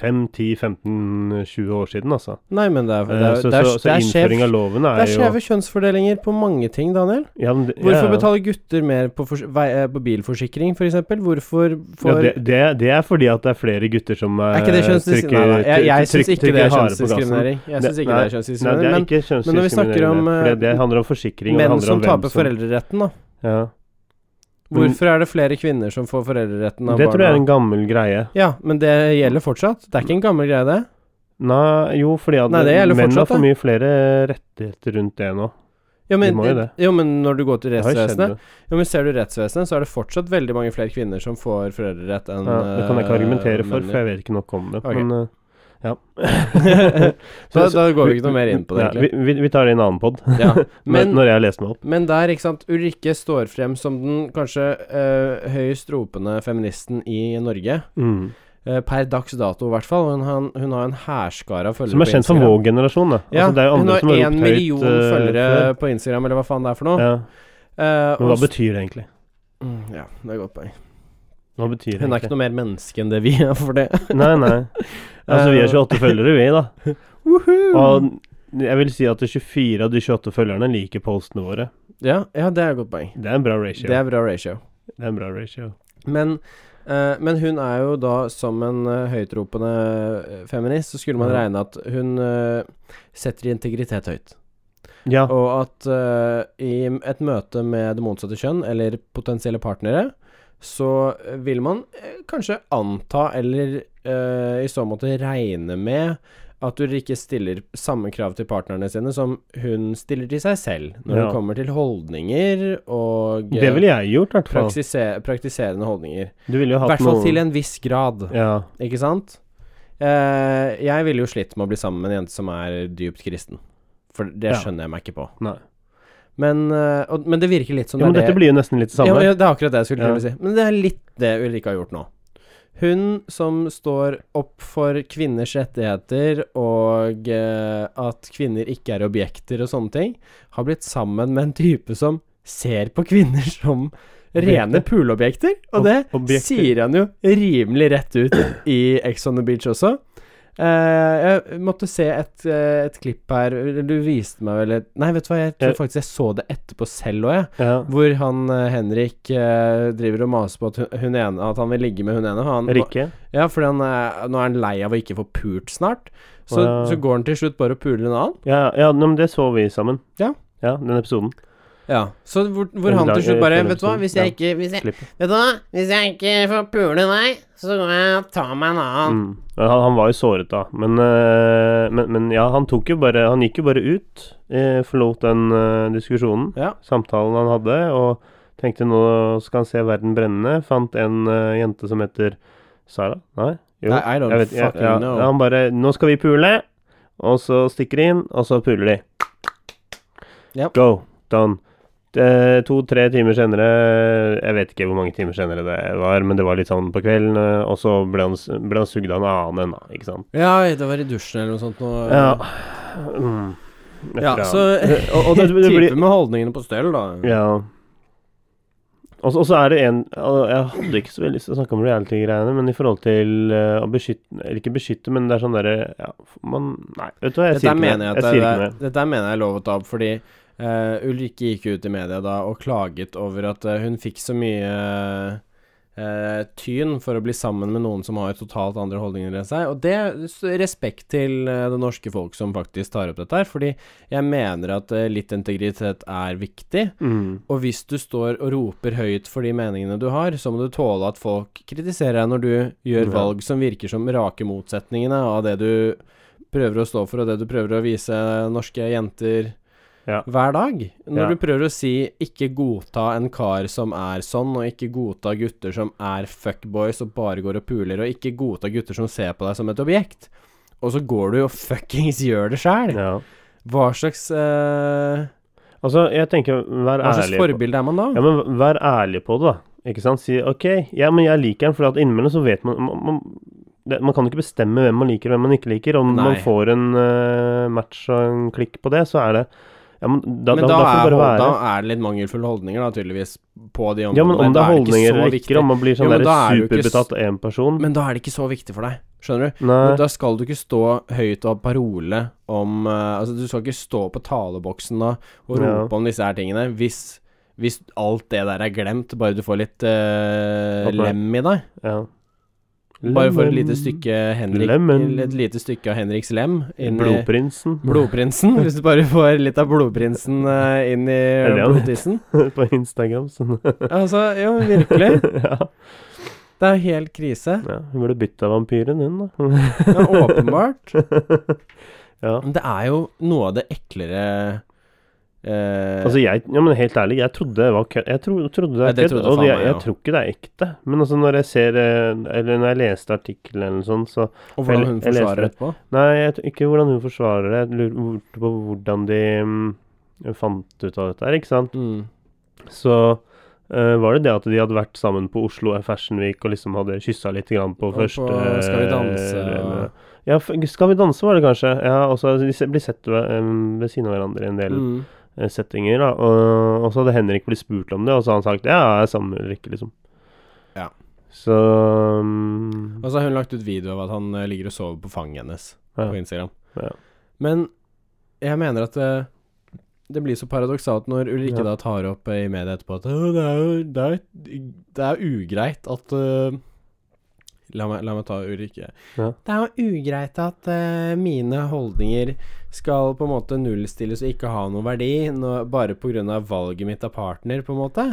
[SPEAKER 2] 5-10-15-20 år siden, altså.
[SPEAKER 1] Nei, men det er, det
[SPEAKER 2] Eh,
[SPEAKER 1] er,
[SPEAKER 2] Så,
[SPEAKER 1] det er,
[SPEAKER 2] så,
[SPEAKER 1] det
[SPEAKER 2] så
[SPEAKER 1] er, skjev,
[SPEAKER 2] innføring av loven
[SPEAKER 1] det
[SPEAKER 2] er
[SPEAKER 1] er
[SPEAKER 2] jo
[SPEAKER 1] skjeve kjønnsfordelinger på mange ting, Daniel.
[SPEAKER 2] ja, men det- ja,
[SPEAKER 1] Hvorfor
[SPEAKER 2] ja.
[SPEAKER 1] betaler gutter mer på, fors vei, eh, på bilforsikring, f.eks.? Hvorfor
[SPEAKER 2] ja,
[SPEAKER 1] får
[SPEAKER 2] det, det, det er fordi at det er flere gutter som eh,
[SPEAKER 1] Er ikke det
[SPEAKER 2] trykker-
[SPEAKER 1] kjønnsdiskriminering? Nei, nei, jeg, jeg
[SPEAKER 2] trykker-
[SPEAKER 1] syns ikke det
[SPEAKER 2] trykker
[SPEAKER 1] er
[SPEAKER 2] hardere på gassen.
[SPEAKER 1] kjønnsdiskriminering. Jeg synes ikke det er
[SPEAKER 2] Nei, det er
[SPEAKER 1] kjønnsdiskriminering.
[SPEAKER 2] ikke
[SPEAKER 1] men når vi snakker
[SPEAKER 2] kjønnsdiskriminering.
[SPEAKER 1] om,
[SPEAKER 2] For
[SPEAKER 1] eh,
[SPEAKER 2] det, det handler om forsikring,
[SPEAKER 1] Men menn
[SPEAKER 2] og det handler
[SPEAKER 1] som
[SPEAKER 2] om hvem
[SPEAKER 1] taper
[SPEAKER 2] som
[SPEAKER 1] foreldreretten, da.
[SPEAKER 2] ja. Men-
[SPEAKER 1] Hvorfor er det flere kvinner som får foreldreretten av
[SPEAKER 2] Det tror jeg er
[SPEAKER 1] barna?
[SPEAKER 2] en gammel greie.
[SPEAKER 1] Ja, men det gjelder fortsatt. Det er ikke en gammel greie, det.
[SPEAKER 2] Nei, jo, fordi at
[SPEAKER 1] Nei, det gjelder
[SPEAKER 2] menn
[SPEAKER 1] fortsatt,
[SPEAKER 2] har for
[SPEAKER 1] da.
[SPEAKER 2] mye flere rettigheter rundt det nå.
[SPEAKER 1] Jo, men,
[SPEAKER 2] må jo det.
[SPEAKER 1] jo, men når du går til
[SPEAKER 2] Det har jo skjedd.
[SPEAKER 1] rettsvesenet
[SPEAKER 2] det.
[SPEAKER 1] Jo, men Ser du rettsvesenet, så er det fortsatt veldig mange flere kvinner som får foreldrerett enn
[SPEAKER 2] Ja, det kan jeg ikke
[SPEAKER 1] eh,
[SPEAKER 2] argumentere for, for
[SPEAKER 1] mennene.
[SPEAKER 2] jeg vet ikke nok om det.
[SPEAKER 1] Ok.
[SPEAKER 2] Men eh, ja.
[SPEAKER 1] da, da går vi ikke noe mer inn på det,
[SPEAKER 2] Ja,
[SPEAKER 1] egentlig.
[SPEAKER 2] vi, vi, vi tar det i en annen pod,
[SPEAKER 1] Ja. Men,
[SPEAKER 2] når jeg har lest meg opp.
[SPEAKER 1] men der, ikke sant Ulrikke står frem som den kanskje eh, høyest ropende feministen i Norge.
[SPEAKER 2] Mm.
[SPEAKER 1] eh, per dags dato, i hvert fall. Hun, har en- hun har en hærskare av følgere.
[SPEAKER 2] Som er
[SPEAKER 1] på
[SPEAKER 2] kjent som
[SPEAKER 1] Instagram.
[SPEAKER 2] vår generasjon, da.
[SPEAKER 1] Ja,
[SPEAKER 2] altså, det er jo
[SPEAKER 1] hun
[SPEAKER 2] andre
[SPEAKER 1] har
[SPEAKER 2] som har
[SPEAKER 1] én
[SPEAKER 2] ropt høyt.
[SPEAKER 1] million
[SPEAKER 2] eh,
[SPEAKER 1] følgere på Instagram, eller hva faen det er for
[SPEAKER 2] før.
[SPEAKER 1] noe.
[SPEAKER 2] Ja.
[SPEAKER 1] Eh,
[SPEAKER 2] Men hva
[SPEAKER 1] og s-
[SPEAKER 2] betyr det egentlig?
[SPEAKER 1] Mm, ja, det er et godt poeng.
[SPEAKER 2] Hva betyr det
[SPEAKER 1] Hun er ikke
[SPEAKER 2] egentlig?
[SPEAKER 1] noe mer menneske enn det vi er for det.
[SPEAKER 2] Nei, nei. Altså,
[SPEAKER 1] Eh.
[SPEAKER 2] vi er 28 følgere, vi, da. Og jeg vil si at 24 av de 28 følgerne liker postene våre.
[SPEAKER 1] Ja, ja det er et godt poeng.
[SPEAKER 2] Det er en bra ratio.
[SPEAKER 1] Det er bra ratio.
[SPEAKER 2] det er en bra ratio.
[SPEAKER 1] Men, eh, men hun er jo da som en eh, høytropende eh, feminist, så skulle man
[SPEAKER 2] Ja.
[SPEAKER 1] regne at hun eh, setter integritet høyt.
[SPEAKER 2] Ja.
[SPEAKER 1] Og at eh, i et møte med det motsatte kjønn, eller potensielle partnere, så eh, vil man eh, kanskje anta, eller eh, i så måte regne med, at du ikke stiller samme krav til partnerne sine som hun stiller til seg selv, når
[SPEAKER 2] Ja.
[SPEAKER 1] det kommer til holdninger og
[SPEAKER 2] Det
[SPEAKER 1] eh,
[SPEAKER 2] ville jeg gjort, i hvert fall.
[SPEAKER 1] praksise- praktiserende holdninger.
[SPEAKER 2] Du ville jo
[SPEAKER 1] I
[SPEAKER 2] hatt
[SPEAKER 1] hvert fall
[SPEAKER 2] noen-
[SPEAKER 1] til en viss grad,
[SPEAKER 2] Ja.
[SPEAKER 1] ikke sant? Eh, jeg ville jo slitt med å bli sammen med en jente som er dypt kristen. For det
[SPEAKER 2] Ja.
[SPEAKER 1] skjønner jeg meg ikke på.
[SPEAKER 2] Nei.
[SPEAKER 1] Men, eh, og, men det virker litt som
[SPEAKER 2] Ja, men
[SPEAKER 1] det
[SPEAKER 2] dette
[SPEAKER 1] er det
[SPEAKER 2] blir jo nesten litt det samme.
[SPEAKER 1] Ja, ja, det er akkurat det jeg skulle
[SPEAKER 2] Ja.
[SPEAKER 1] til å si. Men det er litt det Ulrikke har gjort nå. Hun som står opp for kvinners rettigheter og eh, at kvinner ikke er objekter og sånne ting, har blitt sammen med en type som ser på kvinner som rene
[SPEAKER 2] Objekter.
[SPEAKER 1] puleobjekter. Og
[SPEAKER 2] Ob-
[SPEAKER 1] det
[SPEAKER 2] objekter.
[SPEAKER 1] sier han jo rimelig rett ut i Ex on the Beach også. Eh, jeg måtte se et, eh, et klipp her Eller Du viste meg vel et Nei, vet du hva, jeg tror
[SPEAKER 2] Eh.
[SPEAKER 1] faktisk jeg så det etterpå selv òg, jeg.
[SPEAKER 2] Ja.
[SPEAKER 1] Hvor han eh, Henrik eh, driver og maser på at hun, hun ene At han vil ligge med hun ene. og Han,
[SPEAKER 2] Rikke?
[SPEAKER 1] Ja, fordi han er, nå er han lei av å ikke få pult snart. Så,
[SPEAKER 2] Ja.
[SPEAKER 1] så går han til slutt bare og puler en annen.
[SPEAKER 2] Ja, ja nei, men det så vi sammen.
[SPEAKER 1] Ja.
[SPEAKER 2] Ja, den episoden.
[SPEAKER 1] Ja, Så hvor, hvor
[SPEAKER 2] En
[SPEAKER 1] han
[SPEAKER 2] dag-
[SPEAKER 1] til slutt bare
[SPEAKER 2] eh,
[SPEAKER 1] Vet du hva, hvis jeg ikke hvis jeg,
[SPEAKER 2] Klippet.
[SPEAKER 1] Vet du hva, hvis jeg ikke får pule deg, så går jeg og tar meg en annen.
[SPEAKER 2] Mm. Ja, Han, han var jo såret da, men, eh, men, men ja, han tok jo bare Han gikk jo bare ut, eh, forlot den eh, diskusjonen,
[SPEAKER 1] Ja.
[SPEAKER 2] samtalen han hadde, og tenkte nå skal han se verden brenne. Fant en eh, jente som heter Sara? Nei? Jo.
[SPEAKER 1] I, I don't
[SPEAKER 2] jeg vet, ja,
[SPEAKER 1] fucking
[SPEAKER 2] ja,
[SPEAKER 1] know.
[SPEAKER 2] ja, han bare Nå skal vi pule, og så stikker de inn, og så puler de.
[SPEAKER 1] Yep.
[SPEAKER 2] Go. Done. Eh, To-tre timer senere Jeg vet ikke hvor mange timer senere det var, men det var litt sånn på kvelden, eh, og så ble han, s- ble han sugd av en annen ennå, ikke sant.
[SPEAKER 1] Ja, det var i dusjen eller noe sånt. Noe,
[SPEAKER 2] Ja. Mm.
[SPEAKER 1] Ja,
[SPEAKER 2] Fra-
[SPEAKER 1] så
[SPEAKER 2] og, og det, det blir
[SPEAKER 1] Type med holdningene på stell, da.
[SPEAKER 2] Ja. Og så- og så er det en al- Jeg hadde ikke så veldig lyst til å snakke om reality-greiene, men i forhold til eh, å beskytte Eller ikke beskytte, men det er sånn derre ja, Man Nei, vet du hva, jeg
[SPEAKER 1] Dette
[SPEAKER 2] sier
[SPEAKER 1] her
[SPEAKER 2] ikke
[SPEAKER 1] mener
[SPEAKER 2] mer.
[SPEAKER 1] jeg,
[SPEAKER 2] Jeg
[SPEAKER 1] at
[SPEAKER 2] sier
[SPEAKER 1] det,
[SPEAKER 2] ikke
[SPEAKER 1] er-
[SPEAKER 2] mer.
[SPEAKER 1] dette her mener jeg er lov å ta opp, fordi eh, Ulrikke gikk ut i media da og klaget over at eh, hun fikk så mye eh, tyn for å bli sammen med noen som har totalt andre holdninger enn seg. Og det s- respekt til eh, det norske folk som faktisk tar opp dette her, fordi jeg mener at eh, litt integritet er viktig.
[SPEAKER 2] Mm.
[SPEAKER 1] Og hvis du står og roper høyt for de meningene du har, så må du tåle at folk kritiserer deg når du gjør
[SPEAKER 2] Ja.
[SPEAKER 1] valg som virker som rake motsetningene av det du prøver å stå for, og det du prøver å vise norske jenter
[SPEAKER 2] Ja.
[SPEAKER 1] hver dag. Når
[SPEAKER 2] Ja.
[SPEAKER 1] du prøver å si 'ikke godta en kar som er sånn', og 'ikke godta gutter som er fuckboys og bare går og puler', og 'ikke godta gutter som ser på deg som et objekt', og så går du og fuckings gjør det sjæl.
[SPEAKER 2] Ja.
[SPEAKER 1] Hva slags, eh,
[SPEAKER 2] Altså, jeg tenker Vær
[SPEAKER 1] hva slags
[SPEAKER 2] ærlig. på-
[SPEAKER 1] forbilde er man da?
[SPEAKER 2] Ja, men vær ærlig på det, da. Ikke sant? Si OK, ja, men jeg liker den, for at innimellom så vet man man, man det, man kan ikke bestemme hvem man liker og hvem man ikke liker. Om
[SPEAKER 1] Nei.
[SPEAKER 2] man får en eh, match og en klikk på det, så er det ja, men da,
[SPEAKER 1] men da,
[SPEAKER 2] da, da får
[SPEAKER 1] er,
[SPEAKER 2] det bare
[SPEAKER 1] hold-
[SPEAKER 2] være.
[SPEAKER 1] da er det litt mangelfulle holdninger, da, tydeligvis, på de områdene.
[SPEAKER 2] Ja, men om det
[SPEAKER 1] Da
[SPEAKER 2] er
[SPEAKER 1] ikke
[SPEAKER 2] holdninger
[SPEAKER 1] så
[SPEAKER 2] eller
[SPEAKER 1] viktig.
[SPEAKER 2] ikke, om man blir
[SPEAKER 1] Jo,
[SPEAKER 2] sånn
[SPEAKER 1] men
[SPEAKER 2] der
[SPEAKER 1] da er det jo ikke
[SPEAKER 2] superbetatt av én person
[SPEAKER 1] Men da er det ikke så viktig for deg, skjønner du?
[SPEAKER 2] Nei.
[SPEAKER 1] Da skal du ikke stå høyt og ha parole om eh, Altså, du skal ikke stå på taleboksen da og rope
[SPEAKER 2] Ja.
[SPEAKER 1] om disse her tingene hvis, hvis alt det der er glemt, bare du får litt eh,
[SPEAKER 2] Oppmerk-
[SPEAKER 1] lem i deg.
[SPEAKER 2] Ja.
[SPEAKER 1] Bare for et lite stykke Henrik
[SPEAKER 2] Lemmen.
[SPEAKER 1] Et lite stykke av Henriks lem inn i
[SPEAKER 2] Blodprinsen
[SPEAKER 1] Blodprinsen. Hvis du bare får litt av blodprinsen eh, inn i
[SPEAKER 2] det han heter?
[SPEAKER 1] blodtissen.
[SPEAKER 2] på Instagram. Sånn.
[SPEAKER 1] Altså, ja, virkelig.
[SPEAKER 2] ja.
[SPEAKER 1] Det er helt krise.
[SPEAKER 2] ja. Hun ble bytta av vampyren, hun, da.
[SPEAKER 1] Ja, åpenbart.
[SPEAKER 2] ja.
[SPEAKER 1] Men det er jo noe av det eklere eh,
[SPEAKER 2] Altså, jeg Ja, men helt ærlig, jeg trodde det var kødd. Jeg tro, trodde det
[SPEAKER 1] Ja,
[SPEAKER 2] var
[SPEAKER 1] det
[SPEAKER 2] kødd,
[SPEAKER 1] trodde
[SPEAKER 2] og
[SPEAKER 1] faen
[SPEAKER 2] jeg,
[SPEAKER 1] meg,
[SPEAKER 2] jeg
[SPEAKER 1] ja.
[SPEAKER 2] tror ikke det er ekte. Men altså, når jeg ser eh, Eller når jeg leste artikkelen eller sånn, så
[SPEAKER 1] Og hvordan hun
[SPEAKER 2] jeg leser
[SPEAKER 1] forsvarer
[SPEAKER 2] det.
[SPEAKER 1] etterpå.
[SPEAKER 2] Nei, jeg tror ikke hvordan hun forsvarer det. Jeg lurte på hvordan de mm, fant ut av dette her, ikke sant?
[SPEAKER 1] Mm.
[SPEAKER 2] Så eh, var det det at de hadde vært sammen på Oslo Fashion Week og liksom hadde kyssa litt grann på
[SPEAKER 1] Og på
[SPEAKER 2] første eh,
[SPEAKER 1] Skal vi danse og-
[SPEAKER 2] Ja, f- Skal vi danse var det kanskje. Ja, og så de se- blir sett ved, eh, ved siden av hverandre i en del
[SPEAKER 1] Mm.
[SPEAKER 2] eh, settinger. da og, og så hadde Henrik blitt spurt om det, og så hadde han sagt ja, jeg er sammen med Rikke, liksom.
[SPEAKER 1] Ja.
[SPEAKER 2] Så mm,
[SPEAKER 1] Og så har hun lagt ut video av at han eh, ligger og sover på fanget hennes
[SPEAKER 2] Ja.
[SPEAKER 1] på Instagram.
[SPEAKER 2] Ja.
[SPEAKER 1] Men jeg mener at det, det blir så paradoksalt når Ulrikke
[SPEAKER 2] Ja.
[SPEAKER 1] da tar opp eh, i media etterpå at «Å, det er jo det er, det er ugreit at eh, La meg, la meg ta Ulrikke.
[SPEAKER 2] Ja.
[SPEAKER 1] Det er jo ugreit at eh, mine holdninger skal på en måte nullstilles og ikke ha noen verdi nå- bare pga. valget mitt av partner, på en måte.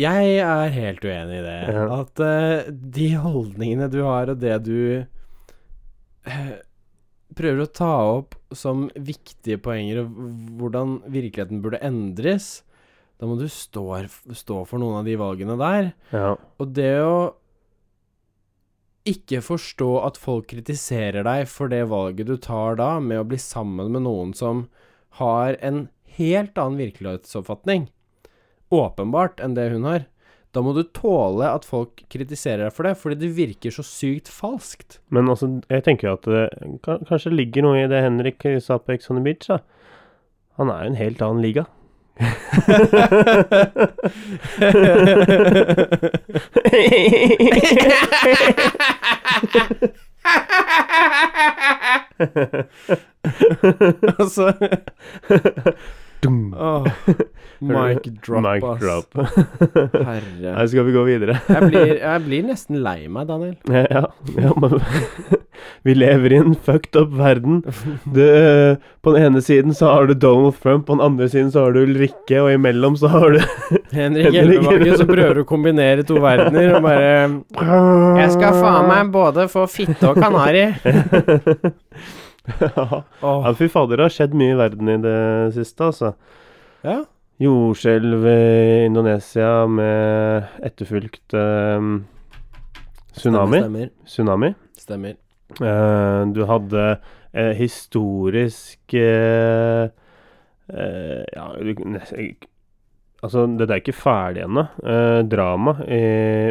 [SPEAKER 1] Jeg er helt uenig i det.
[SPEAKER 2] Ja.
[SPEAKER 1] At eh, de holdningene du har, og det du eh, prøver å ta opp som viktige poenger, og v- hvordan virkeligheten burde endres, da må du stå, stå for noen av de valgene der.
[SPEAKER 2] ja.
[SPEAKER 1] Og det å ikke forstå at folk kritiserer deg for det valget du tar da, med å bli sammen med noen som har en helt annen virkelighetsoppfatning, åpenbart, enn det hun har, da må du tåle at folk kritiserer deg for det, fordi det virker så sykt falskt.
[SPEAKER 2] Men altså, jeg tenker jo at det ka- kanskje ligger noe i det Henrik sa på Ex on the Beach, da. Han er jo en helt annen liga.
[SPEAKER 1] altså
[SPEAKER 2] Dung.
[SPEAKER 1] åh, Mic drop,
[SPEAKER 2] Mic
[SPEAKER 1] ass.
[SPEAKER 2] drop.
[SPEAKER 1] Herre.
[SPEAKER 2] Nei, skal vi gå videre?
[SPEAKER 1] Jeg blir, jeg blir nesten lei meg, Daniel.
[SPEAKER 2] Ja, ja men Vi lever i en fucked up verden. Det, eh, på den ene siden så har du Donald Trump, på den andre siden så har du Ulrikke, og imellom så har du
[SPEAKER 1] Henrik
[SPEAKER 2] Henrik
[SPEAKER 1] Hjelmebakke som prøver å kombinere to verdener og bare Jeg skal faen meg både få fitte og kanari.
[SPEAKER 2] Ja, fy fader, det har skjedd mye i verden i det siste, altså.
[SPEAKER 1] Ja.
[SPEAKER 2] Jordskjelv i Indonesia med etterfulgt eh, tsunami.
[SPEAKER 1] Stemmer.
[SPEAKER 2] tsunami.
[SPEAKER 1] Stemmer.
[SPEAKER 2] Eh, du hadde eh, historisk eh, eh, Ja, du- nes- altså dette er ikke ferdig ennå. Eh, drama i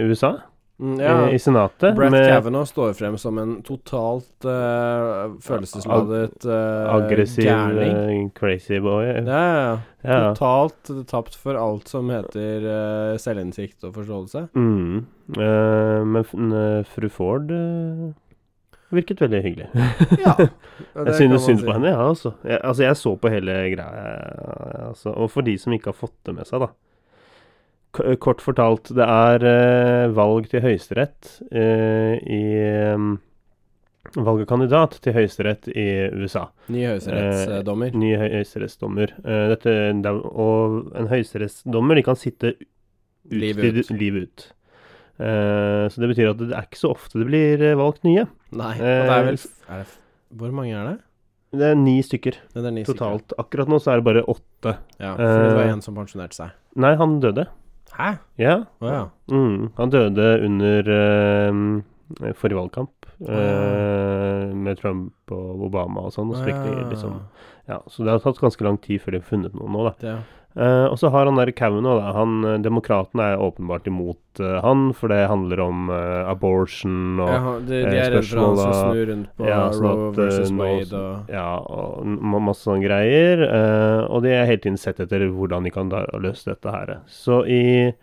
[SPEAKER 2] USA,
[SPEAKER 1] Mm, ja.
[SPEAKER 2] Eh, i, i Senatet.
[SPEAKER 1] Brett
[SPEAKER 2] med
[SPEAKER 1] Kavanaugh står frem som en totalt eh, følelsesladet eh,
[SPEAKER 2] aggressiv,
[SPEAKER 1] gærning.
[SPEAKER 2] eh, crazy boy. Ja,
[SPEAKER 1] Ja, ja.
[SPEAKER 2] ja.
[SPEAKER 1] Totalt tapt for alt som heter eh, selvinnsikt og forståelse.
[SPEAKER 2] Mm. Eh, men f- n- eh, fru Ford eh, virket veldig hyggelig.
[SPEAKER 1] Ja.
[SPEAKER 2] Jeg synes synd på henne, ja, altså. Jeg, altså. jeg så på hele greia, altså. Og for de som ikke har fått det med seg, da. K eh, kort fortalt, det er eh, valg til høyesterett eh, i um, Valg av kandidat til høyesterett i USA.
[SPEAKER 1] Ny høyesterettsdommer.
[SPEAKER 2] Ny høyesterettsdommer. Eh, dette, det er- og en høyesterettsdommer, de kan sitte ut,
[SPEAKER 1] Livet ut.
[SPEAKER 2] til- livet ut. Eh, så det betyr at det er ikke så ofte det blir eh, valgt nye.
[SPEAKER 1] Nei, og
[SPEAKER 2] eh,
[SPEAKER 1] det er vel f- er det, f- Hvor mange er det?
[SPEAKER 2] Det er ni stykker
[SPEAKER 1] Det er ni stykker.
[SPEAKER 2] totalt. Akkurat nå så er det bare åtte.
[SPEAKER 1] Ja, for det var
[SPEAKER 2] Eh,
[SPEAKER 1] en som pensjonerte seg.
[SPEAKER 2] Nei, han døde.
[SPEAKER 1] Hæ?
[SPEAKER 2] Ja.
[SPEAKER 1] Å ja.
[SPEAKER 2] Mm, han døde under eh, forrige valgkamp. eh,
[SPEAKER 1] Ah.
[SPEAKER 2] med Trump og Obama og sånn. Og så fikk de
[SPEAKER 1] Ah,
[SPEAKER 2] liksom Ja, så det har tatt ganske lang tid før de har funnet noen nå, da.
[SPEAKER 1] det, ja.
[SPEAKER 2] Eh, og så har han der Kavanaugh, da. Han, eh, demokratene er åpenbart imot eh, han, for det handler om eh, abortion og
[SPEAKER 1] Ja,
[SPEAKER 2] ja.
[SPEAKER 1] han- de, de
[SPEAKER 2] eh,
[SPEAKER 1] er redd for han som
[SPEAKER 2] spørsmål, da.
[SPEAKER 1] snur rundt på
[SPEAKER 2] Ja, sånn
[SPEAKER 1] Roe
[SPEAKER 2] at, eh,
[SPEAKER 1] versus
[SPEAKER 2] nå
[SPEAKER 1] Wade
[SPEAKER 2] som-
[SPEAKER 1] og
[SPEAKER 2] og n- ma- masse sånne greier. eh, og de er hele tiden sett etter hvordan de kan da løse dette her. Så i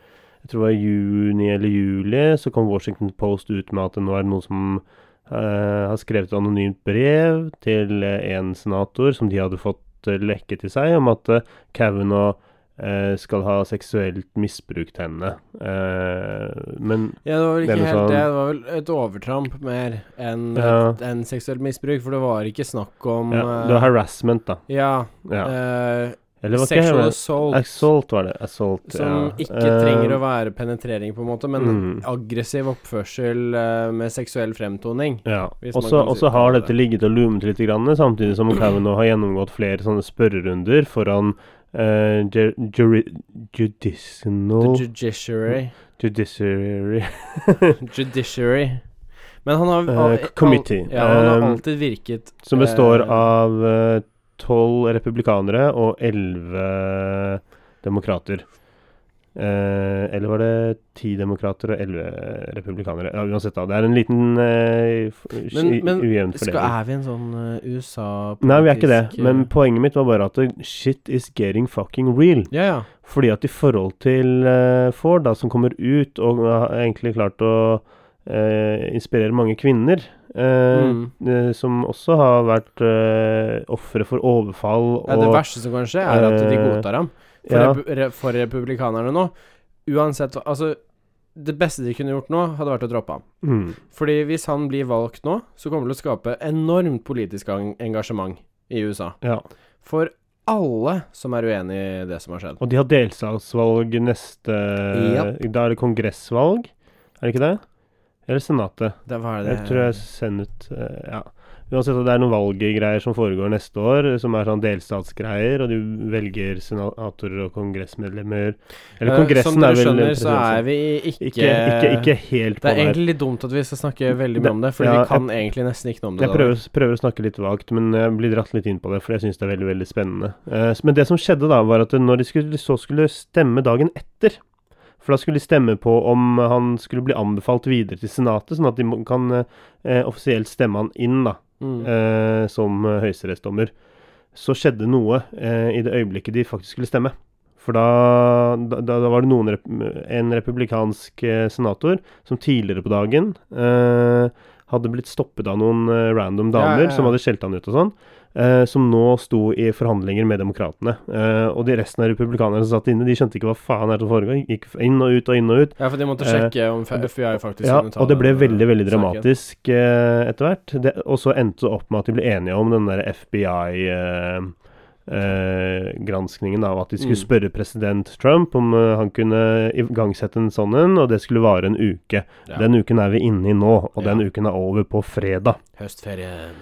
[SPEAKER 2] jeg tror det var juni eller juli så kom Washington Post ut med at det nå er det noen som eh, har skrevet et anonymt brev til eh, en senator som de hadde fått eh, lekket til seg, om at eh, Kavanaugh eh, skal ha seksuelt misbrukt henne. Eh, men
[SPEAKER 1] Ja, det var vel
[SPEAKER 2] Det er
[SPEAKER 1] ikke
[SPEAKER 2] noe
[SPEAKER 1] helt
[SPEAKER 2] sånn-
[SPEAKER 1] det. Det var vel et overtramp mer enn
[SPEAKER 2] Ja.
[SPEAKER 1] et- enn seksuelt misbruk, for det var ikke snakk om
[SPEAKER 2] ja,
[SPEAKER 1] eh,
[SPEAKER 2] det var harassment, da.
[SPEAKER 1] ja,
[SPEAKER 2] Ja.
[SPEAKER 1] eh,
[SPEAKER 2] Eller var ikke
[SPEAKER 1] sexual
[SPEAKER 2] harass-
[SPEAKER 1] assault,
[SPEAKER 2] Assault var det. Assault,
[SPEAKER 1] som
[SPEAKER 2] ja. Eh,
[SPEAKER 1] ikke trenger å være penetrering, på en måte, men
[SPEAKER 2] Mm.
[SPEAKER 1] aggressiv oppførsel eh, med seksuell fremtoning.
[SPEAKER 2] Ja.
[SPEAKER 1] Hvis man
[SPEAKER 2] Og
[SPEAKER 1] kan si
[SPEAKER 2] så
[SPEAKER 1] det på
[SPEAKER 2] har
[SPEAKER 1] det.
[SPEAKER 2] dette ligget og lumet litt, grann, samtidig som Kavanaugh har gjennomgått flere sånne spørrerunder foran eh, ju- juri,
[SPEAKER 1] The
[SPEAKER 2] Judicinal
[SPEAKER 1] judiciary.
[SPEAKER 2] Judiciary
[SPEAKER 1] Judiciary. Men han har
[SPEAKER 2] Eh,
[SPEAKER 1] al- al-
[SPEAKER 2] committee.
[SPEAKER 1] Ja, han har
[SPEAKER 2] Um,
[SPEAKER 1] alltid virket
[SPEAKER 2] Som består
[SPEAKER 1] Eh.
[SPEAKER 2] av tolv republikanere og elleve demokrater. Eh, eller var det ti demokrater og elleve republikanere? Ja, uansett, da. Det er en liten eh, f-
[SPEAKER 1] Men- men
[SPEAKER 2] ujevn
[SPEAKER 1] skal,
[SPEAKER 2] fordeling.
[SPEAKER 1] Er vi en sånn USA
[SPEAKER 2] Nei, vi er ikke det. Men
[SPEAKER 1] eh,
[SPEAKER 2] poenget mitt var bare at det- shit is getting fucking real.
[SPEAKER 1] Ja, ja.
[SPEAKER 2] Fordi at i forhold til eh, Ford, da, som kommer ut og har egentlig klart å eh, inspirere mange kvinner, eh,
[SPEAKER 1] Mm.
[SPEAKER 2] eh, som også har vært eh, ofre for overfall og
[SPEAKER 1] Ja, det verste som kan skje, er at de
[SPEAKER 2] eh,
[SPEAKER 1] godtar ham. For,
[SPEAKER 2] ja.
[SPEAKER 1] repu- re, for republikanerne nå Uansett hva- Altså, det beste de kunne gjort nå, hadde vært å droppe ham.
[SPEAKER 2] Mm,
[SPEAKER 1] Fordi hvis han blir valgt nå, så kommer det til å skape enormt politisk en- engasjement i USA.
[SPEAKER 2] ja.
[SPEAKER 1] For alle som er uenig i det som har skjedd.
[SPEAKER 2] Og de har delstatsvalg neste Da er det kongressvalg, er det ikke det? Eller Senatet?
[SPEAKER 1] Det, hva er det?
[SPEAKER 2] Jeg tror jeg sender ut eh, Ja. Uansett at det er noen valggreier som foregår neste år, eh, som er sånn delstatsgreier, og du velger senatorer og kongressmedlemmer Eller
[SPEAKER 1] Eh, Som
[SPEAKER 2] Kongressen
[SPEAKER 1] dere
[SPEAKER 2] er vel
[SPEAKER 1] skjønner, så er vi ikke,
[SPEAKER 2] ikke, ikke, ikke helt
[SPEAKER 1] Det
[SPEAKER 2] på
[SPEAKER 1] er
[SPEAKER 2] der.
[SPEAKER 1] egentlig litt dumt at vi skal snakke veldig
[SPEAKER 2] Det-
[SPEAKER 1] mye om det, Fordi
[SPEAKER 2] ja,
[SPEAKER 1] vi kan egentlig nesten ikke noe om det.
[SPEAKER 2] Jeg
[SPEAKER 1] da.
[SPEAKER 2] prøver, prøver å snakke litt vagt, men jeg blir dratt litt inn på det, for jeg syns det er veldig veldig spennende. Eh, s- men det som skjedde da, var at når de skulle, så skulle stemme dagen etter For da skulle de stemme på om han skulle bli anbefalt videre til Senatet, sånn at de må- kan eh, eh, offisielt stemme han inn, da.
[SPEAKER 1] Mm.
[SPEAKER 2] eh, som eh, høyesterettsdommer, så skjedde noe eh, i det øyeblikket de faktisk skulle stemme. For da, da, da var det noen rep en republikansk eh, senator som tidligere på dagen eh, hadde blitt stoppet av noen eh, random damer
[SPEAKER 1] ja, ja.
[SPEAKER 2] som hadde skjelt han ut og sånn, eh, som nå sto i forhandlinger med demokratene. Eh, og de resten av republikanerne som satt inne, de skjønte ikke hva faen er det som foregår. Gikk inn og ut og inn og ut.
[SPEAKER 1] Ja, for de måtte sjekke om FBI faktisk
[SPEAKER 2] eh, Ja,
[SPEAKER 1] kunne ta
[SPEAKER 2] og det
[SPEAKER 1] den,
[SPEAKER 2] ble
[SPEAKER 1] eh,
[SPEAKER 2] veldig, veldig
[SPEAKER 1] saken.
[SPEAKER 2] dramatisk eh, etter hvert. Det, og så endte det opp med at de ble enige om den der FBI-granskningen eh, av at de skulle
[SPEAKER 1] Mm.
[SPEAKER 2] spørre president Trump om eh, han kunne igangsette en sånn en, og det skulle vare en uke.
[SPEAKER 1] Ja.
[SPEAKER 2] Den uken er vi inne i nå,
[SPEAKER 1] Ja.
[SPEAKER 2] og den uken er over på fredag.
[SPEAKER 1] Høstferien.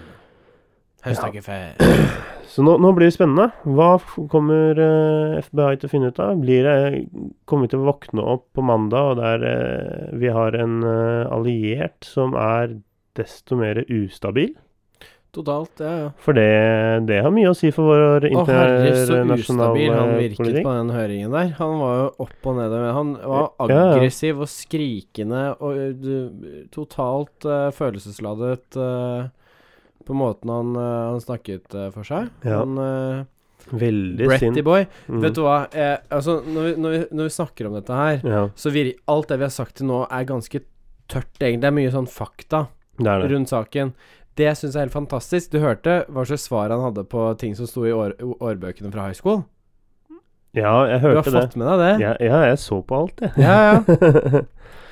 [SPEAKER 1] Høstdageferie.
[SPEAKER 2] Så nå, nå blir det spennende. Hva f- kommer eh, FBI til å finne ut av? Blir det, kommer vi til å våkne opp på mandag, og der eh, vi har en eh, alliert som er desto mer ustabil?
[SPEAKER 1] Totalt, ja, ja.
[SPEAKER 2] For det, det har mye å si for vår
[SPEAKER 1] Å herre, så
[SPEAKER 2] internasjonale
[SPEAKER 1] ustabil han virket
[SPEAKER 2] eh, politikk.
[SPEAKER 1] på den høringen der. Han var jo opp og ned. Han var
[SPEAKER 2] Ja, ja.
[SPEAKER 1] aggressiv og skrikende og ø, du- totalt eh, følelsesladet eh, på måten han, eh, han snakket eh, for seg.
[SPEAKER 2] Ja.
[SPEAKER 1] Han eh,
[SPEAKER 2] Veldig sint.
[SPEAKER 1] Bretty boy.
[SPEAKER 2] Mm.
[SPEAKER 1] Vet du hva, eh, altså, når vi, når, vi, når vi snakker om dette her,
[SPEAKER 2] Ja,
[SPEAKER 1] så vir alt det vi har sagt til nå, er ganske tørt, egentlig. Det er mye sånn fakta
[SPEAKER 2] det er det.
[SPEAKER 1] rundt saken. Det syns jeg er helt fantastisk. Du hørte hva slags svar han hadde på ting som sto i år årbøkene fra high school?
[SPEAKER 2] Ja, jeg
[SPEAKER 1] Du
[SPEAKER 2] hørte
[SPEAKER 1] har
[SPEAKER 2] det.
[SPEAKER 1] fått med deg det?
[SPEAKER 2] Ja, ja, jeg så på alt, jeg.
[SPEAKER 1] Ja, ja.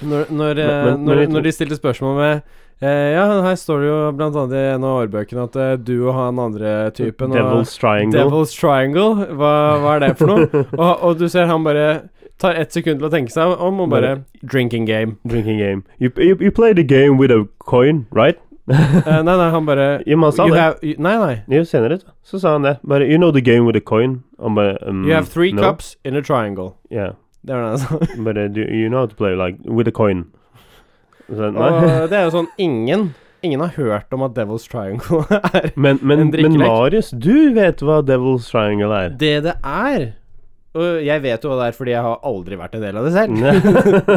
[SPEAKER 1] Når, når, eh,
[SPEAKER 2] Men- men-
[SPEAKER 1] når,
[SPEAKER 2] men vi-
[SPEAKER 1] når de stilte spørsmål med eh, Ja, her står det jo blant annet i en av årbøkene at eh, du og han andre typen og-
[SPEAKER 2] Devil's Triangle.
[SPEAKER 1] Devil's Triangle, hva, hva er det for noe? Og, og du ser han bare tar ett sekund til å tenke seg om og bare Drinking game.
[SPEAKER 2] Drinking game. You, you, you played a game with a coin, right?
[SPEAKER 1] Eh, nei, nei, han bare
[SPEAKER 2] Jo, men han sa
[SPEAKER 1] you
[SPEAKER 2] det.
[SPEAKER 1] have, you, Nei, nei.
[SPEAKER 2] Jo, senere så sa han det. Bare You know the game with a coin? Han bare um,
[SPEAKER 1] You have three
[SPEAKER 2] no.
[SPEAKER 1] cups in a triangle.
[SPEAKER 2] Yeah.
[SPEAKER 1] Det var det han sa.
[SPEAKER 2] Bare do you know how to play like with a coin? Så, nei.
[SPEAKER 1] Og det er jo sånn ingen Ingen har hørt om at Devil's Triangle er
[SPEAKER 2] Men, men,
[SPEAKER 1] en drikkelek.
[SPEAKER 2] men Marius, du vet hva Devil's Triangle er?
[SPEAKER 1] det det er. Og jeg vet jo hva det er, fordi jeg har aldri vært en del av det selv. Det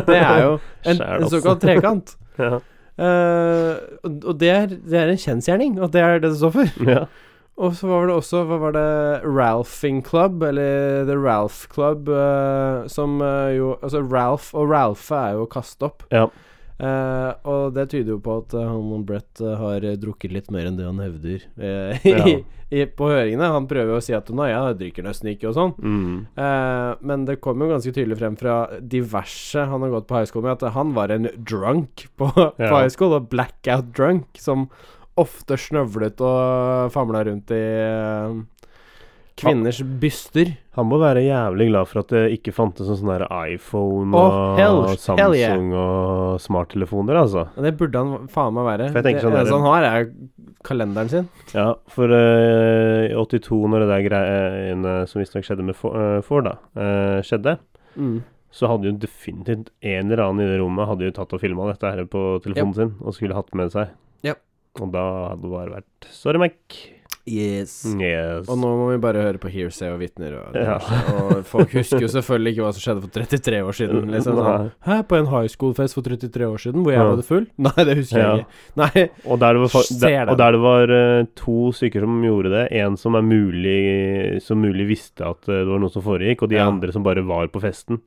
[SPEAKER 2] det
[SPEAKER 1] er jo en,
[SPEAKER 2] Skjær,
[SPEAKER 1] en
[SPEAKER 2] altså.
[SPEAKER 1] såkalt trekant.
[SPEAKER 2] Ja.
[SPEAKER 1] Eh, og og det, er, det er en kjensgjerning, og det er det det står for.
[SPEAKER 2] ja.
[SPEAKER 1] Og så var det også Hva var det Ralphing Club, eller The Ralph Club, eh, som eh, jo Altså, Ralph og Ralphe er jo å kaste opp.
[SPEAKER 2] Ja.
[SPEAKER 1] Eh, og det tyder jo på at eh, han og Brett eh, har eh, drukket litt mer enn det han hevder eh, i, i, på høringene. Han prøver jo å si at nei, jeg drikker nesten ikke og sånn.
[SPEAKER 2] Mm.
[SPEAKER 1] Eh, men det kom jo ganske tydelig frem fra diverse han har gått på high school med, at han var en drunk på, på
[SPEAKER 2] Ja.
[SPEAKER 1] high school, og blackout drunk, som ofte snøvlet og famla rundt i eh, kvinners byster.
[SPEAKER 2] Han må være jævlig glad for at det ikke fantes en sånn der iPhone
[SPEAKER 1] Å, hell-
[SPEAKER 2] og Samsung
[SPEAKER 1] hell yeah.
[SPEAKER 2] og smarttelefoner, altså.
[SPEAKER 1] Og det burde han faen meg være.
[SPEAKER 2] For jeg
[SPEAKER 1] Det
[SPEAKER 2] tenker sånn der-
[SPEAKER 1] eneste han har, er kalenderen sin.
[SPEAKER 2] Ja, for eh, i 82, når det der greiene som visstnok skjedde med Fo- eh, Ford, da, eh, skjedde,
[SPEAKER 1] Mm.
[SPEAKER 2] så hadde jo definitivt en eller annen i det rommet hadde jo tatt og filma dette her på telefonen sin og skulle hatt med seg.
[SPEAKER 1] Ja.
[SPEAKER 2] Og da hadde det bare vært Sorry, Mac.
[SPEAKER 1] Yes.
[SPEAKER 2] Yes.
[SPEAKER 1] Og nå må vi bare høre på hearsay og vitner. Og,
[SPEAKER 2] Ja.
[SPEAKER 1] og folk husker jo selvfølgelig ikke hva som skjedde for 33 år siden. Liksom, sånn.
[SPEAKER 2] Nei.
[SPEAKER 1] Hæ, på en high school-fest for 33 år siden, hvor jeg
[SPEAKER 2] Ja.
[SPEAKER 1] var full? Nei, det husker
[SPEAKER 2] Ja.
[SPEAKER 1] jeg ikke. Nei,
[SPEAKER 2] Og der det var, fa-
[SPEAKER 1] Ser
[SPEAKER 2] der,
[SPEAKER 1] den.
[SPEAKER 2] og der det var eh, to stykker som gjorde det. En som er mulig Som mulig visste at eh, det var noe som foregikk, og de
[SPEAKER 1] Ja.
[SPEAKER 2] andre som bare var på festen.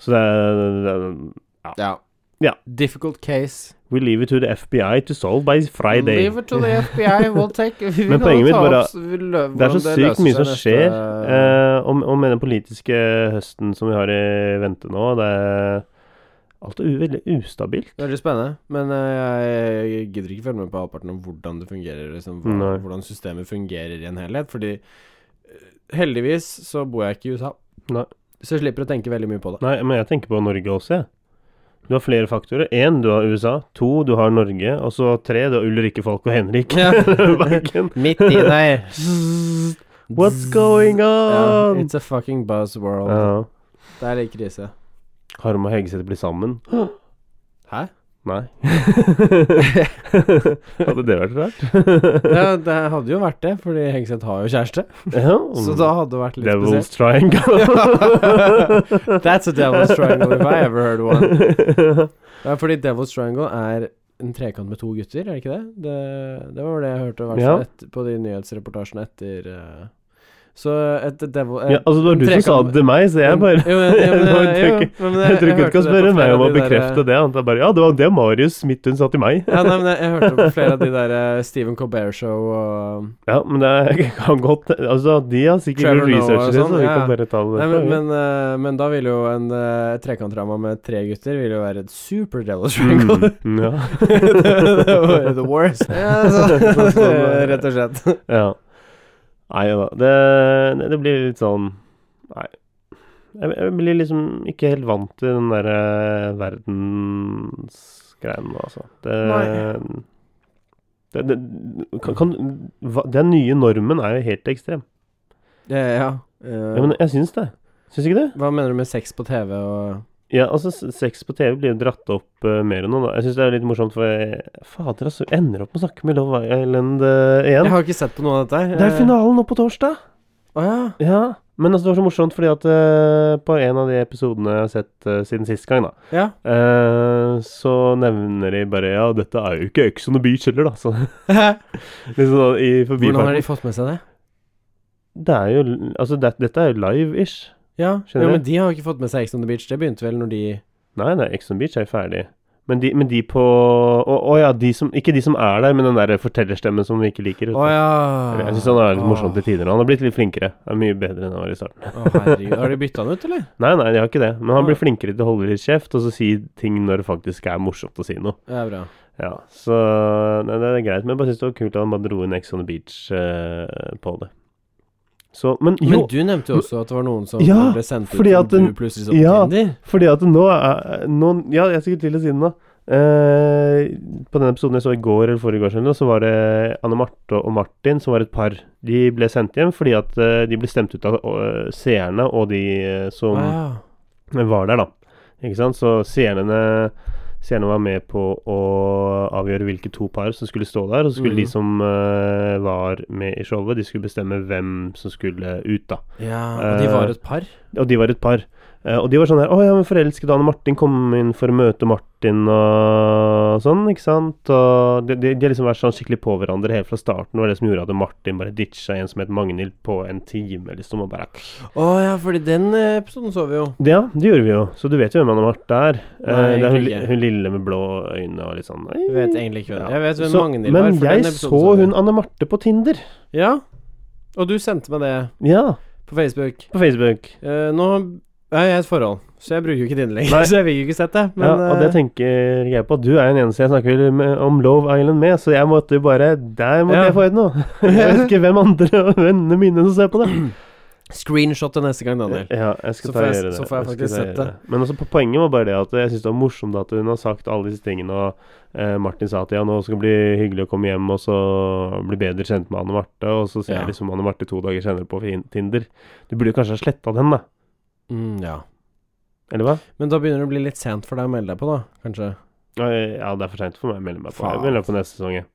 [SPEAKER 2] Så det er, det er
[SPEAKER 1] ja.
[SPEAKER 2] Ja.
[SPEAKER 1] Difficult case.
[SPEAKER 2] We leave it to the FBI to solve by Friday.
[SPEAKER 1] Leave it to the FBI, we'll take Vi
[SPEAKER 2] Men
[SPEAKER 1] kan
[SPEAKER 2] poenget mitt
[SPEAKER 1] ta
[SPEAKER 2] bare-
[SPEAKER 1] opp s- vi lø-
[SPEAKER 2] Det er så
[SPEAKER 1] hvordan
[SPEAKER 2] sykt
[SPEAKER 1] løser seg
[SPEAKER 2] mye som
[SPEAKER 1] neste-
[SPEAKER 2] skjer. eh, og, og med den politiske høsten som vi har i vente nå, det er Alt er u- veldig ustabilt.
[SPEAKER 1] Veldig spennende, men eh, jeg gidder ikke følge med på halvparten om hvordan det fungerer, liksom, hva,
[SPEAKER 2] Nei.
[SPEAKER 1] hvordan systemet fungerer i en helhet, fordi eh, heldigvis så bor jeg ikke i USA,
[SPEAKER 2] Nei.
[SPEAKER 1] så jeg slipper å tenke veldig mye på det.
[SPEAKER 2] Nei, men jeg tenker på Norge også, jeg. Du har flere faktorer. Én, du har USA. To, du har Norge. Og så tre, du har Ulrikke Falk og Henrik
[SPEAKER 1] Ja.
[SPEAKER 2] Bergen.
[SPEAKER 1] Midt i der.
[SPEAKER 2] What's going
[SPEAKER 1] Ja,
[SPEAKER 2] on?
[SPEAKER 1] it's a fucking buzz world.
[SPEAKER 2] Ja.
[SPEAKER 1] Det er litt krise.
[SPEAKER 2] Harm og Hegseth blir sammen?
[SPEAKER 1] Hæ?
[SPEAKER 2] Nei. Hadde det vært rart?
[SPEAKER 1] Ja, det hadde jo vært det, fordi Hegseth har jo kjæreste.
[SPEAKER 2] Ja.
[SPEAKER 1] Så da hadde det vært litt
[SPEAKER 2] Mm. Devil's Triangle.
[SPEAKER 1] spesielt. That's a devil's triangle if I ever heard one. Ja, fordi devil's triangle er en trekant med to gutter, er det ikke det? Det, det var det jeg hørte i hvert
[SPEAKER 2] Ja.
[SPEAKER 1] fall et- på de nyhetsreportasjene etter eh, Så et devil eh,
[SPEAKER 2] Ja, altså, det var
[SPEAKER 1] en
[SPEAKER 2] du som sa
[SPEAKER 1] trekant-
[SPEAKER 2] det til meg, så jeg bare
[SPEAKER 1] Jo, men- jo, men-
[SPEAKER 2] Jeg bare
[SPEAKER 1] jo,
[SPEAKER 2] tror ikke-
[SPEAKER 1] men
[SPEAKER 2] Jeg tror ikke du
[SPEAKER 1] hørte det
[SPEAKER 2] skal
[SPEAKER 1] på
[SPEAKER 2] spørre meg
[SPEAKER 1] flere
[SPEAKER 2] om å
[SPEAKER 1] av de der- eh,
[SPEAKER 2] bekrefte det. Annet er bare Ja, det var det Marius Midthun sa til meg.
[SPEAKER 1] Ja, nei, men jeg, jeg hørte det på flere av de der eh, Stephen Colbert-show og
[SPEAKER 2] Ja, men det kan godt Altså, de har sikkert
[SPEAKER 1] Trevor
[SPEAKER 2] gjort
[SPEAKER 1] Noah og
[SPEAKER 2] research i det,
[SPEAKER 1] sånn,
[SPEAKER 2] så vi
[SPEAKER 1] ja, ja.
[SPEAKER 2] kan bare ta det
[SPEAKER 1] Nei, men,
[SPEAKER 2] derfra.
[SPEAKER 1] men, eh, men da vil jo en eh, trekantramme med tre gutter Vil jo være et super devil triangle.
[SPEAKER 2] Mm, ja.
[SPEAKER 1] det, det var the worst. Ja, så, rett og slett.
[SPEAKER 2] Ja. Nei da. Det, det blir litt sånn Nei. Jeg, jeg blir liksom ikke helt vant til den derre verdensgreien, altså. Det,
[SPEAKER 1] Nei.
[SPEAKER 2] det, det kan, kan, hva, Den nye normen er jo helt ekstrem.
[SPEAKER 1] Ja, ja. Eh,
[SPEAKER 2] Ja, men jeg syns det. Syns ikke du?
[SPEAKER 1] hva mener du med sex på TV og
[SPEAKER 2] Ja, altså, s- sex på TV blir jo dratt opp eh, mer enn noe, da. Jeg syns det er litt morsomt, for jeg, fader, altså, jeg ender opp med å snakke med Love Island eh,
[SPEAKER 1] Jeg
[SPEAKER 2] igjen.
[SPEAKER 1] har ikke sett på noe av dette. her.
[SPEAKER 2] Det er
[SPEAKER 1] Eh,
[SPEAKER 2] finalen nå på torsdag!
[SPEAKER 1] Å ja.
[SPEAKER 2] Ja, men altså, det var så morsomt fordi at eh, på en av de episodene jeg har sett eh, siden sist gang, da,
[SPEAKER 1] ja.
[SPEAKER 2] eh, så nevner de bare Ja, dette er jo ikke Ex on the Beach heller, da. Så, liksom da, i
[SPEAKER 1] Hvordan har de
[SPEAKER 2] forbifarten.
[SPEAKER 1] fått med seg det?
[SPEAKER 2] Det er jo Altså, det, dette er jo live-ish.
[SPEAKER 1] Ja,
[SPEAKER 2] Skjønner
[SPEAKER 1] jo,
[SPEAKER 2] jeg.
[SPEAKER 1] men de har jo ikke fått med seg Ex on the Beach. Det begynte vel når de
[SPEAKER 2] Nei, nei, Ex on the Beach er jo ferdig. Men de, men de på Å å ja, de som Ikke de som er der, men den der fortellerstemmen som vi ikke liker. vet du.
[SPEAKER 1] Å ja.
[SPEAKER 2] Jeg syns han er litt morsom til tider. Han har blitt litt flinkere. Han er Mye bedre enn han var i starten.
[SPEAKER 1] Å, herregud. Har de bytta den ut, eller?
[SPEAKER 2] Nei, nei, de har ikke det. Men han
[SPEAKER 1] Nei.
[SPEAKER 2] blir flinkere til å holde litt kjeft og så si ting når det faktisk er morsomt å si noe.
[SPEAKER 1] Det er bra.
[SPEAKER 2] Ja, Så nei, det er greit. Men jeg bare syns det var kult at han bare dro inn Ex on the Beach eh, på det. Så Men jo,
[SPEAKER 1] Men du nevnte jo også at det var noen som
[SPEAKER 2] Ja,
[SPEAKER 1] ble sendt ut
[SPEAKER 2] fordi at
[SPEAKER 1] og du
[SPEAKER 2] den-
[SPEAKER 1] plutselig så på
[SPEAKER 2] ja.
[SPEAKER 1] Tinder.
[SPEAKER 2] fordi at nå er nå, Ja, jeg skulle til å si det nå. Eh, på den episoden jeg så i går eller forrige år, så var det Anne Marte og Martin som var et par. De ble sendt hjem fordi at eh, de ble stemt ut av eh, seerne og de eh, som
[SPEAKER 1] Ah,
[SPEAKER 2] men var der, da. Ikke sant? Så seerne, seerne var med på å avgjøre hvilke to par som skulle stå der. Og så skulle
[SPEAKER 1] Mhm.
[SPEAKER 2] de som eh, var med i showet, de skulle bestemme hvem som skulle ut, da.
[SPEAKER 1] ja, og de
[SPEAKER 2] Eh,
[SPEAKER 1] var et par?
[SPEAKER 2] Og de var et par. Eh, og de var sånn her Å ja, men forelsket Anne Martin kom inn for å møte Martin og sånn, ikke sant? Og de, de, de har liksom vært sånn skikkelig på hverandre helt fra starten. Det var det som gjorde at Martin bare ditcha en som het Magnhild på en time, liksom. Og bare
[SPEAKER 1] Å ja, fordi den eh, episoden så vi jo.
[SPEAKER 2] Ja, det gjorde vi jo, så du vet jo hvem Anne Marte er. Eh,
[SPEAKER 1] Nei,
[SPEAKER 2] det er hun,
[SPEAKER 1] egentlig ikke.
[SPEAKER 2] hun lille med blå øyne og litt sånn «Ei».
[SPEAKER 1] Jeg vet egentlig ikke hvem
[SPEAKER 2] Ja.
[SPEAKER 1] Jeg vet hvem
[SPEAKER 2] Så-
[SPEAKER 1] Magnhild var.
[SPEAKER 2] Men
[SPEAKER 1] for den
[SPEAKER 2] jeg
[SPEAKER 1] episoden
[SPEAKER 2] så
[SPEAKER 1] vi.
[SPEAKER 2] hun Anne Marte på Tinder.
[SPEAKER 1] Ja, og du sendte meg det
[SPEAKER 2] Ja,
[SPEAKER 1] på Facebook.
[SPEAKER 2] på Facebook.
[SPEAKER 1] Eh, nå er jeg i et forhold, så jeg bruker jo ikke Tinder lenger.
[SPEAKER 2] Nei.
[SPEAKER 1] Så jeg fikk jo ikke sett det. Men eh,
[SPEAKER 2] ja, og det tenker jeg på. Du er jo den eneste jeg snakker med, om Love Island med, så jeg måtte jo bare Der måtte
[SPEAKER 1] Ja.
[SPEAKER 2] jeg få ut noe. Jeg vet ikke hvem andre og vennene mine som ser på det.
[SPEAKER 1] eh, screenshot til neste gang, Daniel.
[SPEAKER 2] Ja, jeg skal
[SPEAKER 1] Så får
[SPEAKER 2] ta og
[SPEAKER 1] jeg-
[SPEAKER 2] gjøre det.
[SPEAKER 1] så får jeg
[SPEAKER 2] skal
[SPEAKER 1] faktisk
[SPEAKER 2] ta og
[SPEAKER 1] sett
[SPEAKER 2] gjøre
[SPEAKER 1] det.
[SPEAKER 2] Men altså, på poenget var bare det at jeg syns det var morsomt at hun har sagt alle disse tingene, og eh, Martin sa at ja, nå skal det bli hyggelig å komme hjem og så bli bedre kjent med Anne Marte, og så ser
[SPEAKER 1] Ja.
[SPEAKER 2] jeg liksom Anne Marte to dager senere på fin- Tinder. Du burde kanskje ha sletta den, da.
[SPEAKER 1] Mm, ja.
[SPEAKER 2] Eller hva?
[SPEAKER 1] Men da begynner det å bli litt sent for deg å melde deg på, da. Kanskje.
[SPEAKER 2] Ja, eh, ja, det er for seint for meg å melde meg på.
[SPEAKER 1] Faen.
[SPEAKER 2] Jeg melder meg på neste sesong, jeg.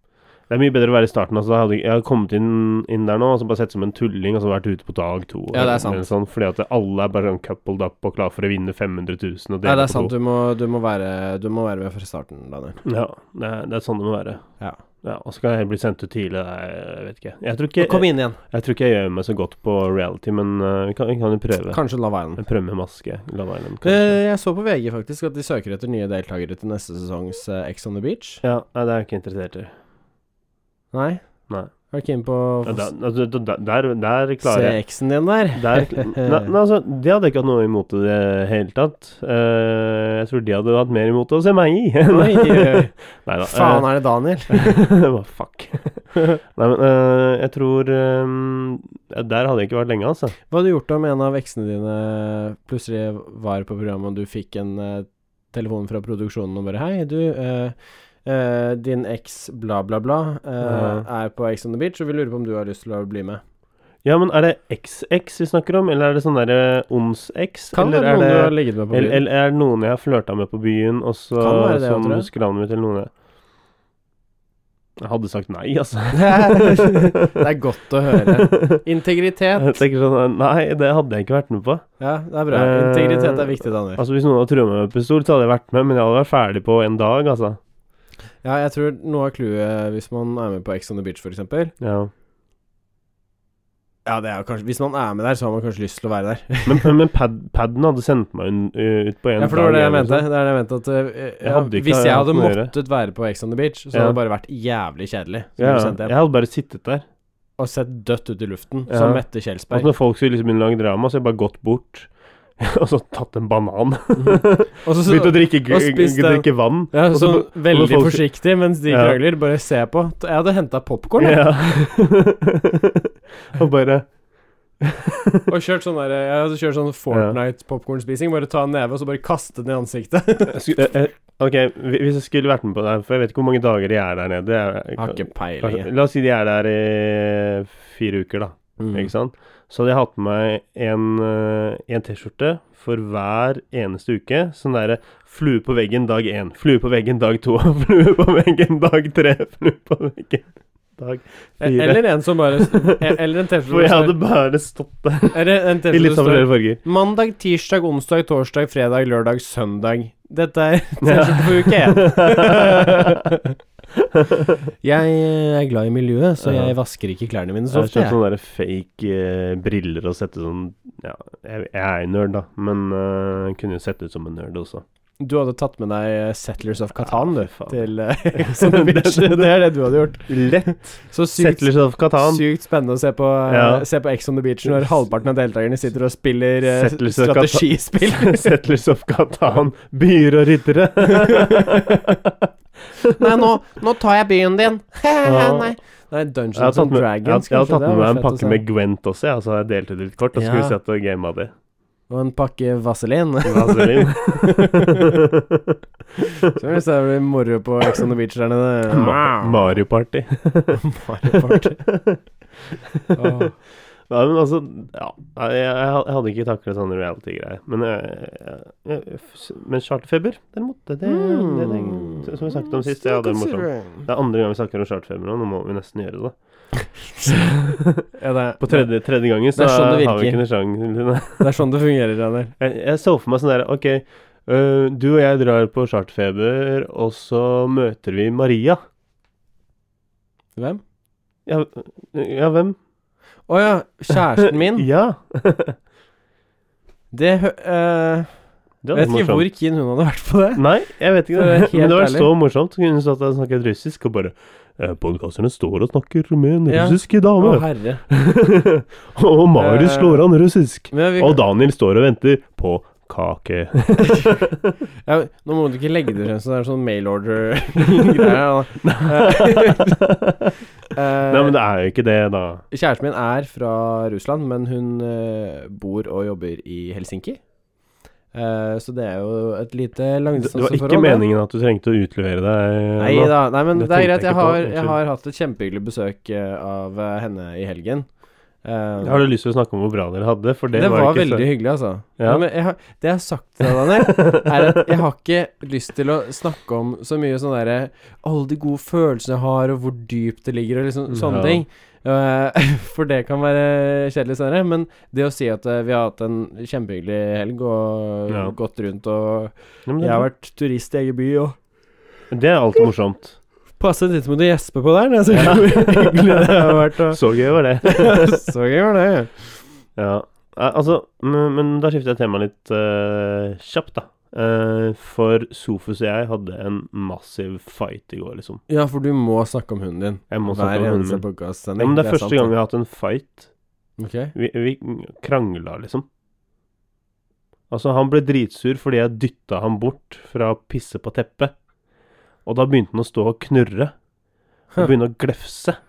[SPEAKER 2] Det er mye bedre å være i starten. Altså, da hadde jeg, jeg hadde kommet inn, inn der nå og så bare sett som en tulling og så vært ute på dag to.
[SPEAKER 1] Ja, det er
[SPEAKER 2] eller Sånn, fordi at alle er bare sånn coupled up og klar for å vinne 500 000. Og
[SPEAKER 1] Nei,
[SPEAKER 2] dele
[SPEAKER 1] det er
[SPEAKER 2] på to.
[SPEAKER 1] sant. Du må, du, må være, du må være med fra starten, Daniel.
[SPEAKER 2] Ja, det er, det er sånn det må være.
[SPEAKER 1] Ja.
[SPEAKER 2] Og så kan jeg bli sendt ut tidlig. det er- Jeg vet ikke. Jeg tror ikke,
[SPEAKER 1] Og kom inn igjen.
[SPEAKER 2] Jeg, tror ikke jeg gjør meg så godt på reality, men øh, vi kan, vi kan jo prøve.
[SPEAKER 1] Kanskje Love Island.
[SPEAKER 2] Jeg prøver med maske. Love Island, kanskje.
[SPEAKER 1] Eh, Jeg så på VG faktisk at de søker etter nye deltakere til neste sesongs eh, Ex on the Beach.
[SPEAKER 2] ja, nei, det er jeg ikke interessert i.
[SPEAKER 1] Nei?
[SPEAKER 2] Nei.
[SPEAKER 1] Er du keen på å
[SPEAKER 2] Ja,
[SPEAKER 1] få
[SPEAKER 2] da- altså, da- Der, der
[SPEAKER 1] se
[SPEAKER 2] klarer jeg
[SPEAKER 1] eksen din der?
[SPEAKER 2] der, nei, nei, altså, De hadde ikke hatt noe imot det i det hele tatt. Eh, jeg tror de hadde hatt mer imot det å se meg i.
[SPEAKER 1] Oi, oi,
[SPEAKER 2] Nei da.
[SPEAKER 1] Faen, er det Daniel?
[SPEAKER 2] Hva fuck. Nei, men eh, jeg tror eh, Der hadde jeg ikke vært lenge, altså.
[SPEAKER 1] Hva hadde du gjort om en av eksene dine plutselig var på programmet, og du fikk en eh, telefon fra produksjonen og bare Hei, du, eh, eh, din eks bla, bla, bla eh,
[SPEAKER 2] Ja.
[SPEAKER 1] er på Ex on the Beach, og vi lurer på om du har lyst til å bli med.
[SPEAKER 2] Ja, men er det XX vi snakker om, eller er det sånn derre ons-X?
[SPEAKER 1] Kan
[SPEAKER 2] eller
[SPEAKER 1] være
[SPEAKER 2] er
[SPEAKER 1] noen du har
[SPEAKER 2] det
[SPEAKER 1] ligget med på
[SPEAKER 2] eller,
[SPEAKER 1] byen.
[SPEAKER 2] eller er det noen jeg har flørta med på byen, og så
[SPEAKER 1] Kan være det, jeg
[SPEAKER 2] som
[SPEAKER 1] tror.
[SPEAKER 2] husker navnet mitt, eller noen jeg Jeg hadde sagt nei, altså.
[SPEAKER 1] det er godt å høre. Integritet.
[SPEAKER 2] Jeg tenker sånn Nei, det hadde jeg ikke vært med på.
[SPEAKER 1] Ja, det er bra.
[SPEAKER 2] Eh,
[SPEAKER 1] Integritet er viktig, Daniel.
[SPEAKER 2] Altså Hvis noen hadde trua meg med pistol, så hadde jeg vært med, men jeg hadde vært ferdig på en dag, altså.
[SPEAKER 1] Ja, jeg tror noe av clouet hvis man er med på Ex on the Beach, for eksempel
[SPEAKER 2] Ja.
[SPEAKER 1] Ja, det er jo kanskje Hvis man er med der, så har man kanskje lyst til å være der.
[SPEAKER 2] Men, men pad, paden hadde sendt meg un, eh, ut på en
[SPEAKER 1] Ja, for det var
[SPEAKER 2] dag
[SPEAKER 1] det jeg
[SPEAKER 2] eller noe
[SPEAKER 1] mente.
[SPEAKER 2] sånt.
[SPEAKER 1] Det er det jeg mente at eh,
[SPEAKER 2] Jeg
[SPEAKER 1] ja,
[SPEAKER 2] hadde ikke
[SPEAKER 1] Hvis jeg
[SPEAKER 2] hatt
[SPEAKER 1] hadde
[SPEAKER 2] noe å gjøre.
[SPEAKER 1] måttet være på Ex on the Beach, så
[SPEAKER 2] Ja.
[SPEAKER 1] hadde det bare vært jævlig kjedelig. Så
[SPEAKER 2] Ja,
[SPEAKER 1] hadde du sendt
[SPEAKER 2] jeg
[SPEAKER 1] en,
[SPEAKER 2] hadde bare sittet der.
[SPEAKER 1] og sett dødt ut i luften,
[SPEAKER 2] Ja.
[SPEAKER 1] som Mette
[SPEAKER 2] Og
[SPEAKER 1] Kjelsberg.
[SPEAKER 2] når folk skulle liksom begynne å lage drama, så har jeg bare gått bort og så tatt en banan.
[SPEAKER 1] Og Mhm. så,
[SPEAKER 2] Begynt å drikke,
[SPEAKER 1] og spist den.
[SPEAKER 2] drikke vann.
[SPEAKER 1] ja,
[SPEAKER 2] og så-
[SPEAKER 1] sånn veldig
[SPEAKER 2] folk-
[SPEAKER 1] forsiktig mens de
[SPEAKER 2] Ja.
[SPEAKER 1] krangler. Bare se på. Jeg hadde henta popkorn
[SPEAKER 2] Ja. og bare
[SPEAKER 1] og kjørt sånn der, jeg hadde kjørt sånn Fortnite-popkornspising. Bare ta en neve og så bare kaste den i ansiktet.
[SPEAKER 2] jeg sku- eh, eh, Ok, hvi- hvis jeg skulle vært med på det her, for jeg vet ikke hvor mange dager de er der nede jeg,
[SPEAKER 1] Jeg har ikke peiling. jeg.
[SPEAKER 2] La oss si de er der i fire uker, da.
[SPEAKER 1] Mm.
[SPEAKER 2] Ikke sant? Så hadde jeg hatt med meg en, eh, en T-skjorte for hver eneste uke. Sånn derre flue på veggen dag én, flue på veggen dag to, flue på veggen dag tre, flue på veggen dag fire.
[SPEAKER 1] Eller en som bare E- Eller en
[SPEAKER 2] for jeg hadde
[SPEAKER 1] T-skjorte.
[SPEAKER 2] bare stått der
[SPEAKER 1] Eller en
[SPEAKER 2] i litt
[SPEAKER 1] T-skjorte. som står-
[SPEAKER 2] sammenlignende farger.
[SPEAKER 1] Mandag, tirsdag, onsdag, torsdag, fredag, lørdag, søndag. Dette er
[SPEAKER 2] Ja.
[SPEAKER 1] T-skjorte for uke én. jeg
[SPEAKER 2] eh,
[SPEAKER 1] er glad i miljøet, så jeg vasker ikke klærne mine
[SPEAKER 2] Jeg
[SPEAKER 1] så
[SPEAKER 2] har
[SPEAKER 1] ofte.
[SPEAKER 2] kjøpt
[SPEAKER 1] Jeg.
[SPEAKER 2] sånne der fake eh, briller og sett ut som Ja, jeg, jeg er en nerd, da, men eh, jeg kunne jo sett ut som en nerd også.
[SPEAKER 1] Du hadde tatt med deg eh, Settlers of Katan,
[SPEAKER 2] Ja,
[SPEAKER 1] du.
[SPEAKER 2] fy faen.
[SPEAKER 1] Til eh, sånne bitch. Det er det du hadde gjort.
[SPEAKER 2] Lett
[SPEAKER 1] Så sykt,
[SPEAKER 2] Settlers of Catan.
[SPEAKER 1] sykt spennende å se på, eh,
[SPEAKER 2] Ja.
[SPEAKER 1] se på Ex on the Beach når halvparten av deltakerne sitter og spiller eh,
[SPEAKER 2] Settlers of Catan.
[SPEAKER 1] strategispill.
[SPEAKER 2] Settlers of Catan, byer og ryttere.
[SPEAKER 1] Nei, nå, nå tar jeg byen din.
[SPEAKER 2] Ja.
[SPEAKER 1] Nei. Nei, Dungeons
[SPEAKER 2] Jeg har tatt
[SPEAKER 1] and
[SPEAKER 2] med, jeg,
[SPEAKER 1] Dragons.
[SPEAKER 2] har- jeg har
[SPEAKER 1] kanskje, det
[SPEAKER 2] tatt med
[SPEAKER 1] hadde
[SPEAKER 2] meg en
[SPEAKER 1] vært fett å
[SPEAKER 2] pakke
[SPEAKER 1] se.
[SPEAKER 2] med Gwent også, ja, så jeg delte ut litt kort. Og så skulle
[SPEAKER 1] Ja.
[SPEAKER 2] vi sette og game av det.
[SPEAKER 1] Og en pakke Vaselin.
[SPEAKER 2] Vaselin.
[SPEAKER 1] Så hvis det blir moro på Ex on the Beach der nede
[SPEAKER 2] Ma- Mario Party.
[SPEAKER 1] Mario Party. Åh.
[SPEAKER 2] Nei, men altså Ja, Nei, jeg, jeg had- jeg hadde ikke taklet sånne reality-greier. Men, eh, jeg- jeg- jeg- men charterfeber, derimot det, det, det,
[SPEAKER 1] Hmm.
[SPEAKER 2] det, Som vi snakket om sist, ja, det er morsomt. Det er andre gang vi snakker om charterfeber nå, nå må vi nesten gjøre det.
[SPEAKER 1] Ja, det, er,
[SPEAKER 2] På tredje, tredje gangen så
[SPEAKER 1] Det er sånn det
[SPEAKER 2] har vi
[SPEAKER 1] virker.
[SPEAKER 2] ikke noen sjanse.
[SPEAKER 1] det er sånn det fungerer, Daniel.
[SPEAKER 2] Jeg, jeg så for meg sånn derre Ok, øh, du og jeg drar på charterfeber, og så møter vi Maria.
[SPEAKER 1] Hvem?
[SPEAKER 2] Ja, øh, ja hvem?
[SPEAKER 1] Å ja, kjæresten min.
[SPEAKER 2] Ja.
[SPEAKER 1] Det hø... eh, vet
[SPEAKER 2] Det hadde
[SPEAKER 1] ikke
[SPEAKER 2] morsomt.
[SPEAKER 1] hvor keen hun hadde vært på det.
[SPEAKER 2] Nei, jeg vet ikke.
[SPEAKER 1] For å være helt
[SPEAKER 2] Men det var så
[SPEAKER 1] ærlig.
[SPEAKER 2] morsomt. Hun sa at jeg snakket russisk, og bare eh, Podkasterne står og snakker med en
[SPEAKER 1] Ja.
[SPEAKER 2] russisk
[SPEAKER 1] Å,
[SPEAKER 2] dame.
[SPEAKER 1] herre.
[SPEAKER 2] og Marius
[SPEAKER 1] Eh,
[SPEAKER 2] slår an russisk.
[SPEAKER 1] Men vi,
[SPEAKER 2] Og Daniel står og venter på kake.
[SPEAKER 1] ja, nå må du ikke legge det frem som det er sånn mail order-greie.
[SPEAKER 2] Nei, men det er jo ikke det, da.
[SPEAKER 1] Kjæresten min er fra Russland, men hun eh, bor og jobber i Helsinki. Eh, så det er jo et lite
[SPEAKER 2] Det det var
[SPEAKER 1] langdistanseforhold.
[SPEAKER 2] ikke
[SPEAKER 1] da.
[SPEAKER 2] meningen at du trengte å utlevere deg. eh,
[SPEAKER 1] Nei
[SPEAKER 2] nå.
[SPEAKER 1] da. Nei, men
[SPEAKER 2] Det
[SPEAKER 1] det, er
[SPEAKER 2] tenkte jeg
[SPEAKER 1] greit. Jeg
[SPEAKER 2] ikke på,
[SPEAKER 1] har, jeg
[SPEAKER 2] unnskyld.
[SPEAKER 1] har hatt et kjempehyggelig besøk eh, av eh, henne i helgen. Eh,
[SPEAKER 2] Har du lyst til å snakke om hvor bra dere hadde? For det,
[SPEAKER 1] det, var,
[SPEAKER 2] ikke
[SPEAKER 1] veldig hyggelig, altså.
[SPEAKER 2] Ja.
[SPEAKER 1] Nei, men jeg har, det jeg har sagt til deg, Daniel, er at jeg har ikke lyst til å snakke om så mye sånn derre Alle de gode følelsene jeg har, og hvor dypt det ligger, og liksom sånne
[SPEAKER 2] Mm. Ja.
[SPEAKER 1] ting. Eh, for det kan være kjedelig senere, men det å si at eh, vi har hatt en kjempehyggelig helg og
[SPEAKER 2] Ja.
[SPEAKER 1] gått rundt og
[SPEAKER 2] Ja, men det,
[SPEAKER 1] Jeg har vært turist i egen by og
[SPEAKER 2] det er alltid morsomt.
[SPEAKER 1] passet litt med å gjespe på der. når jeg ser hvor hyggelig det har vært. Og,
[SPEAKER 2] Så gøy var det.
[SPEAKER 1] så gøy var det.
[SPEAKER 2] Ja. Eh, Altså, men, men da skifter jeg temaet litt eh, kjapt, da. Eh, for Sofus og jeg hadde en massiv fight i går, liksom.
[SPEAKER 1] Ja, for du må snakke om hunden din.
[SPEAKER 2] Jeg må
[SPEAKER 1] Hver
[SPEAKER 2] snakke om
[SPEAKER 1] eneste
[SPEAKER 2] hunden min. Ja,
[SPEAKER 1] podkastsending.
[SPEAKER 2] men det er første gang vi har hatt en fight.
[SPEAKER 1] Ok.
[SPEAKER 2] Vi, vi krangla, liksom. Altså, han ble dritsur fordi jeg dytta ham bort fra å pisse på teppet. Og da begynte han å stå og knurre. Og
[SPEAKER 1] Huh.
[SPEAKER 2] begynne å glefse.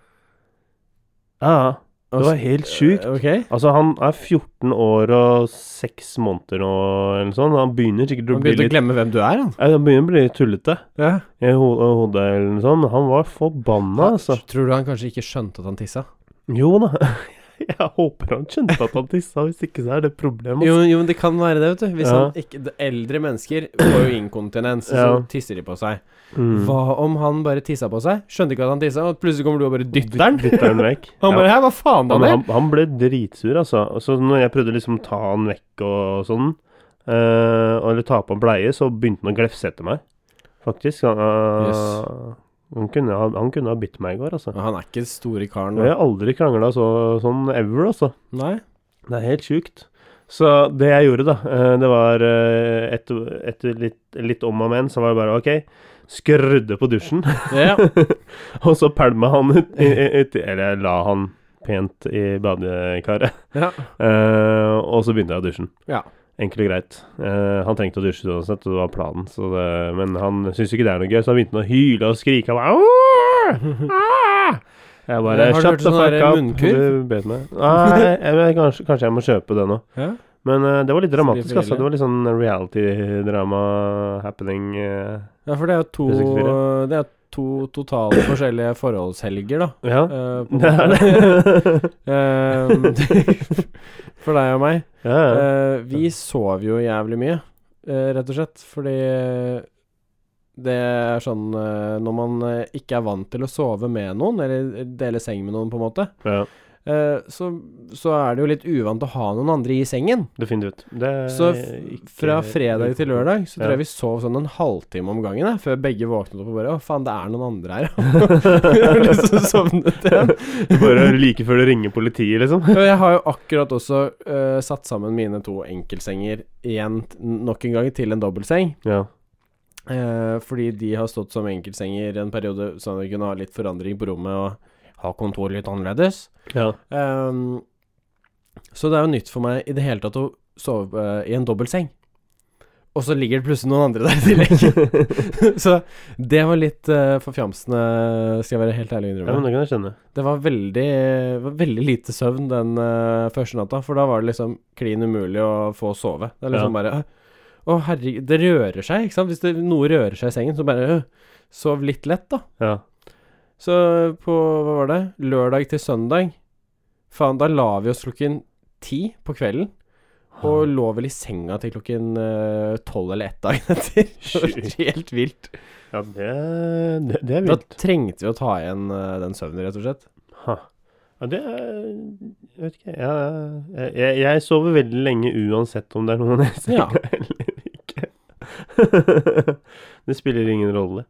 [SPEAKER 2] Ja, ja. Det var
[SPEAKER 1] eh,
[SPEAKER 2] helt sjukt.
[SPEAKER 1] Ok.
[SPEAKER 2] Altså, han er 14 år og 6 måneder nå, eller noe sånt. Han begynner sikkert å
[SPEAKER 1] Han
[SPEAKER 2] bli
[SPEAKER 1] begynte å
[SPEAKER 2] litt
[SPEAKER 1] glemme hvem du er, han.
[SPEAKER 2] Nei, Han begynner å bli litt tullete
[SPEAKER 1] Ja.
[SPEAKER 2] i ho hodet, eller noe sånt. Men Han var forbanna, altså.
[SPEAKER 1] Tror du han kanskje ikke skjønte at han tissa?
[SPEAKER 2] Jo da. Jeg håper han skjønte at han tissa, hvis ikke så er det altså. problemet.
[SPEAKER 1] Jo, jo, men det kan være det, vet du. Hvis
[SPEAKER 2] Ja.
[SPEAKER 1] han ikke de- Eldre mennesker får jo inkontinens,
[SPEAKER 2] Ja.
[SPEAKER 1] så tisser de på seg.
[SPEAKER 2] Mm.
[SPEAKER 1] Hva om han bare tissa på seg? Skjønte ikke at han tissa, og plutselig kommer du og bare dytter han?
[SPEAKER 2] Dytter han vekk.
[SPEAKER 1] Han
[SPEAKER 2] Ja.
[SPEAKER 1] bare Hæ, hva faen,
[SPEAKER 2] Ja, men
[SPEAKER 1] Daniel?
[SPEAKER 2] han, han ble dritsur, altså. Og Så når jeg prøvde liksom å ta han vekk og, og sånn, eh, eller ta på han bleie, så begynte han å glefse etter meg, faktisk. Han, eh, Han kunne ha, han kunne ha bitt meg i går, altså.
[SPEAKER 1] Men Han er ikke store karen.
[SPEAKER 2] Jeg
[SPEAKER 1] da.
[SPEAKER 2] har aldri krangla så, sånn ever, altså.
[SPEAKER 1] Nei?
[SPEAKER 2] Det er helt sjukt. Så det jeg gjorde, da, eh, det var eh, etter, etter litt, litt om og men, så var det bare OK, skrudde på dusjen,
[SPEAKER 1] Ja.
[SPEAKER 2] og så pælma han ut, i- i- ut i- Eller jeg la han pent i badekaret.
[SPEAKER 1] ja.
[SPEAKER 2] Eh, og så begynte jeg å dusje.
[SPEAKER 1] Ja.
[SPEAKER 2] Enkelt og greit. Eh, han trengte å dusje uansett, og det var planen. Så det, men han syntes ikke det er noe gøy, så han begynte å hyle og skrike. Han bare, «Åh! Ah!» jeg bare
[SPEAKER 1] Eh, har du hørt
[SPEAKER 2] Shut the
[SPEAKER 1] sånn
[SPEAKER 2] fuck
[SPEAKER 1] der
[SPEAKER 2] up.
[SPEAKER 1] munnkurv?
[SPEAKER 2] Du bet meg. Nei, jeg, vet, kanskje, kanskje jeg må kjøpe det nå.
[SPEAKER 1] Ja.
[SPEAKER 2] Men eh, det var litt dramatisk,
[SPEAKER 1] for
[SPEAKER 2] altså.
[SPEAKER 1] ille.
[SPEAKER 2] Det var litt sånn reality-drama happening. eh.
[SPEAKER 1] Ja, for det er jo to,
[SPEAKER 2] 364.
[SPEAKER 1] det er to totalt forskjellige forholdshelger, da.
[SPEAKER 2] ja.
[SPEAKER 1] Eh, på en
[SPEAKER 2] Det er
[SPEAKER 1] måte.
[SPEAKER 2] det.
[SPEAKER 1] Eh, for deg og meg.
[SPEAKER 2] ja, ja.
[SPEAKER 1] Eh, vi sov jo jævlig mye, eh, rett og slett, fordi det er sånn eh, Når man eh, ikke er vant til å sove med noen, eller eh, dele seng med noen, på en måte,
[SPEAKER 2] ja.
[SPEAKER 1] eh, så, så er det jo litt uvant å ha noen andre i sengen.
[SPEAKER 2] Det finner du ut. Det er
[SPEAKER 1] Så f-
[SPEAKER 2] Eh, ikke-
[SPEAKER 1] fra fredag til lørdag så tror
[SPEAKER 2] Ja.
[SPEAKER 1] jeg vi sov sånn en halvtime om gangen, jeg, før begge våknet opp og bare Å, faen, det er noen andre her, ja. så sovnet igjen.
[SPEAKER 2] Bare like før du ringer politiet, liksom.
[SPEAKER 1] Og jeg har jo akkurat også eh, satt sammen mine to enkeltsenger igjen, t- nok en gang, til en dobbeltseng.
[SPEAKER 2] Ja.
[SPEAKER 1] Eh, fordi de har stått som enkeltsenger en periode, så de kunne ha litt forandring på rommet og ha kontoret litt annerledes.
[SPEAKER 2] ja.
[SPEAKER 1] Ehm, så det er jo nytt for meg i det hele tatt å sove eh, i en dobbeltseng. Og så ligger det plutselig noen andre der i tillegg. så det var litt eh, forfjamsende, skal jeg være helt ærlig og
[SPEAKER 2] Ja, men
[SPEAKER 1] innrømme.
[SPEAKER 2] det kan jeg skjønne.
[SPEAKER 1] Det var veldig, var veldig lite søvn den eh, første natta, for da var det liksom klin umulig å få sove. Det er
[SPEAKER 2] Ja.
[SPEAKER 1] liksom bare «Åh, Å, herregud, det rører seg, ikke sant? Hvis det, noe rører seg i sengen, så bare «Åh, sov litt lett, da.
[SPEAKER 2] Ja.
[SPEAKER 1] Så på hva var det? Lørdag til søndag. Faen, da la vi oss klokken ti på kvelden. Og lå vel i senga til klokken eh, tolv eller ett dagen etter. Det var
[SPEAKER 2] Sjukt.
[SPEAKER 1] helt vilt.
[SPEAKER 2] Ja, det, det, det er
[SPEAKER 1] Da
[SPEAKER 2] vilt.
[SPEAKER 1] trengte vi å ta igjen eh, den søvnen, rett og slett.
[SPEAKER 2] Ha. Ja, det er Jeg vet ikke. Ja, jeg, jeg, jeg sover veldig lenge uansett om det er noen jeg ser
[SPEAKER 1] Ja.
[SPEAKER 2] eller ikke. det spiller ingen rolle.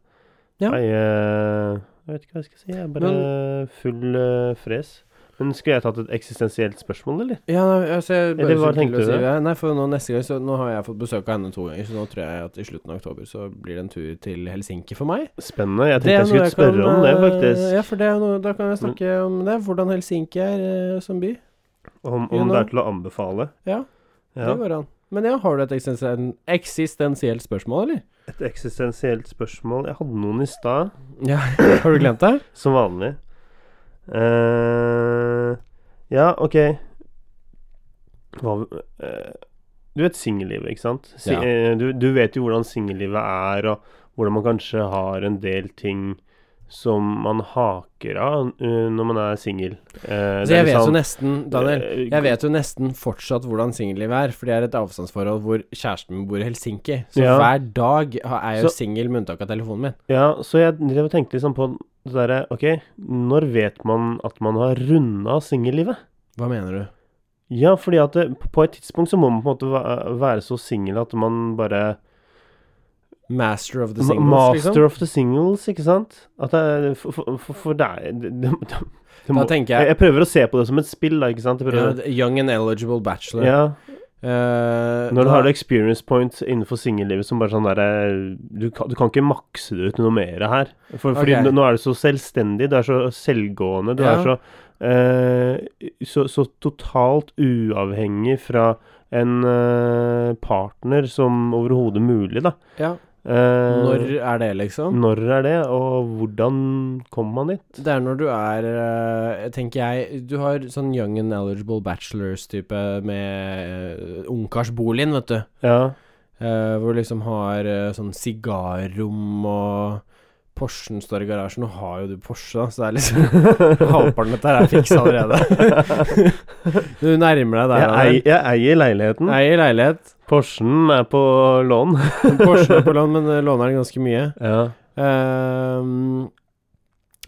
[SPEAKER 1] Ja.
[SPEAKER 2] Nei, eh, jeg vet ikke hva jeg skal si. Jeg er bare full eh, fres. Men skulle jeg tatt et eksistensielt spørsmål, eller?
[SPEAKER 1] Ja, nei, altså jeg bare
[SPEAKER 2] Eller
[SPEAKER 1] skulle
[SPEAKER 2] hva
[SPEAKER 1] til
[SPEAKER 2] tenkte
[SPEAKER 1] å
[SPEAKER 2] du
[SPEAKER 1] si-
[SPEAKER 2] da?
[SPEAKER 1] Nei, for nå neste gang så, Nå har jeg fått besøk av henne to ganger, så nå tror jeg at i slutten av oktober så blir det en tur til Helsinki for meg.
[SPEAKER 2] Spennende. Jeg
[SPEAKER 1] Det
[SPEAKER 2] tenkte
[SPEAKER 1] er
[SPEAKER 2] jeg
[SPEAKER 1] noe
[SPEAKER 2] skulle spørre om det,
[SPEAKER 1] kan, eh,
[SPEAKER 2] faktisk. Mm.
[SPEAKER 1] Ja, for det er noe Da kan jeg snakke om det. Hvordan Helsinki er eh, som by.
[SPEAKER 2] Om,
[SPEAKER 1] you
[SPEAKER 2] om det
[SPEAKER 1] know.
[SPEAKER 2] er til å anbefale.
[SPEAKER 1] Ja,
[SPEAKER 2] Ja.
[SPEAKER 1] Det går an. Men ja, har du et eksisten eksistensielt spørsmål, eller?
[SPEAKER 2] Et eksistensielt spørsmål. Jeg hadde noen i stad.
[SPEAKER 1] Ja, Har du glemt det?
[SPEAKER 2] Som vanlig. eh ja, OK. Hva eh, Du vet singellivet, ikke sant? Si,
[SPEAKER 1] Ja.
[SPEAKER 2] eh, du, du vet jo hvordan singellivet er, og hvordan man kanskje har en del ting som man haker av eh, når man er singel. Eh, det
[SPEAKER 1] Så
[SPEAKER 2] er
[SPEAKER 1] jeg
[SPEAKER 2] litt
[SPEAKER 1] vet jo
[SPEAKER 2] sånn,
[SPEAKER 1] nesten, Daniel
[SPEAKER 2] eh,
[SPEAKER 1] Jeg vet jo nesten fortsatt hvordan singellivet er, for det er et avstandsforhold hvor kjæresten min bor i Helsinki. Så
[SPEAKER 2] Ja.
[SPEAKER 1] hver dag er jeg jo
[SPEAKER 2] Så-
[SPEAKER 1] singel med unntak av telefonen min.
[SPEAKER 2] Ja, så jeg drev og tenkte liksom på det derre OK, når vet man at man har runda singellivet?
[SPEAKER 1] Hva mener du?
[SPEAKER 2] Ja, fordi at det, på et tidspunkt så må man på en måte væ- være så singel at man bare
[SPEAKER 1] Master of the
[SPEAKER 2] Ma-
[SPEAKER 1] singles,
[SPEAKER 2] Master
[SPEAKER 1] liksom?
[SPEAKER 2] of the singles, ikke sant? At det, for, for, for- for det er det, det, det, det
[SPEAKER 1] Da
[SPEAKER 2] må, jeg,
[SPEAKER 1] tenker jeg
[SPEAKER 2] jeg prøver å se på det som et spill, da, ikke sant? Jeg
[SPEAKER 1] ja,
[SPEAKER 2] prøver,
[SPEAKER 1] the Young and eligible
[SPEAKER 2] ja,
[SPEAKER 1] bachelor. Eh,
[SPEAKER 2] Når du
[SPEAKER 1] da-
[SPEAKER 2] har det experience point innenfor singellivet som bare sånn derre du, kan- du kan ikke makse det ut noe mer her. For, fordi
[SPEAKER 1] Ok.
[SPEAKER 2] nå- nå er du så selvstendig, du er så selvgående, du
[SPEAKER 1] Ja.
[SPEAKER 2] er så, eh, så Så totalt uavhengig fra en eh, partner som overhodet mulig, da.
[SPEAKER 1] Ja.
[SPEAKER 2] Eh,
[SPEAKER 1] Når er det, liksom?
[SPEAKER 2] når er det, og hvordan kommer man dit?
[SPEAKER 1] Det er når du er eh, Tenker jeg Du har sånn young and eligible bachelors-type med uh, ungkarsboligen, vet du.
[SPEAKER 2] Ja.
[SPEAKER 1] Eh, hvor du liksom har eh, sånn sigarrom og Porschen står i garasjen. Nå har jo du Porsche, da, så det er liksom Halvparten av dette her er fiksa allerede. du nærmer deg der.
[SPEAKER 2] Jeg, ei, jeg eier leiligheten.
[SPEAKER 1] Eier leilighet.
[SPEAKER 2] Porschen er på lån.
[SPEAKER 1] Porschen er på lån, men eh, låner den ganske mye.
[SPEAKER 2] ja.
[SPEAKER 1] Ehm,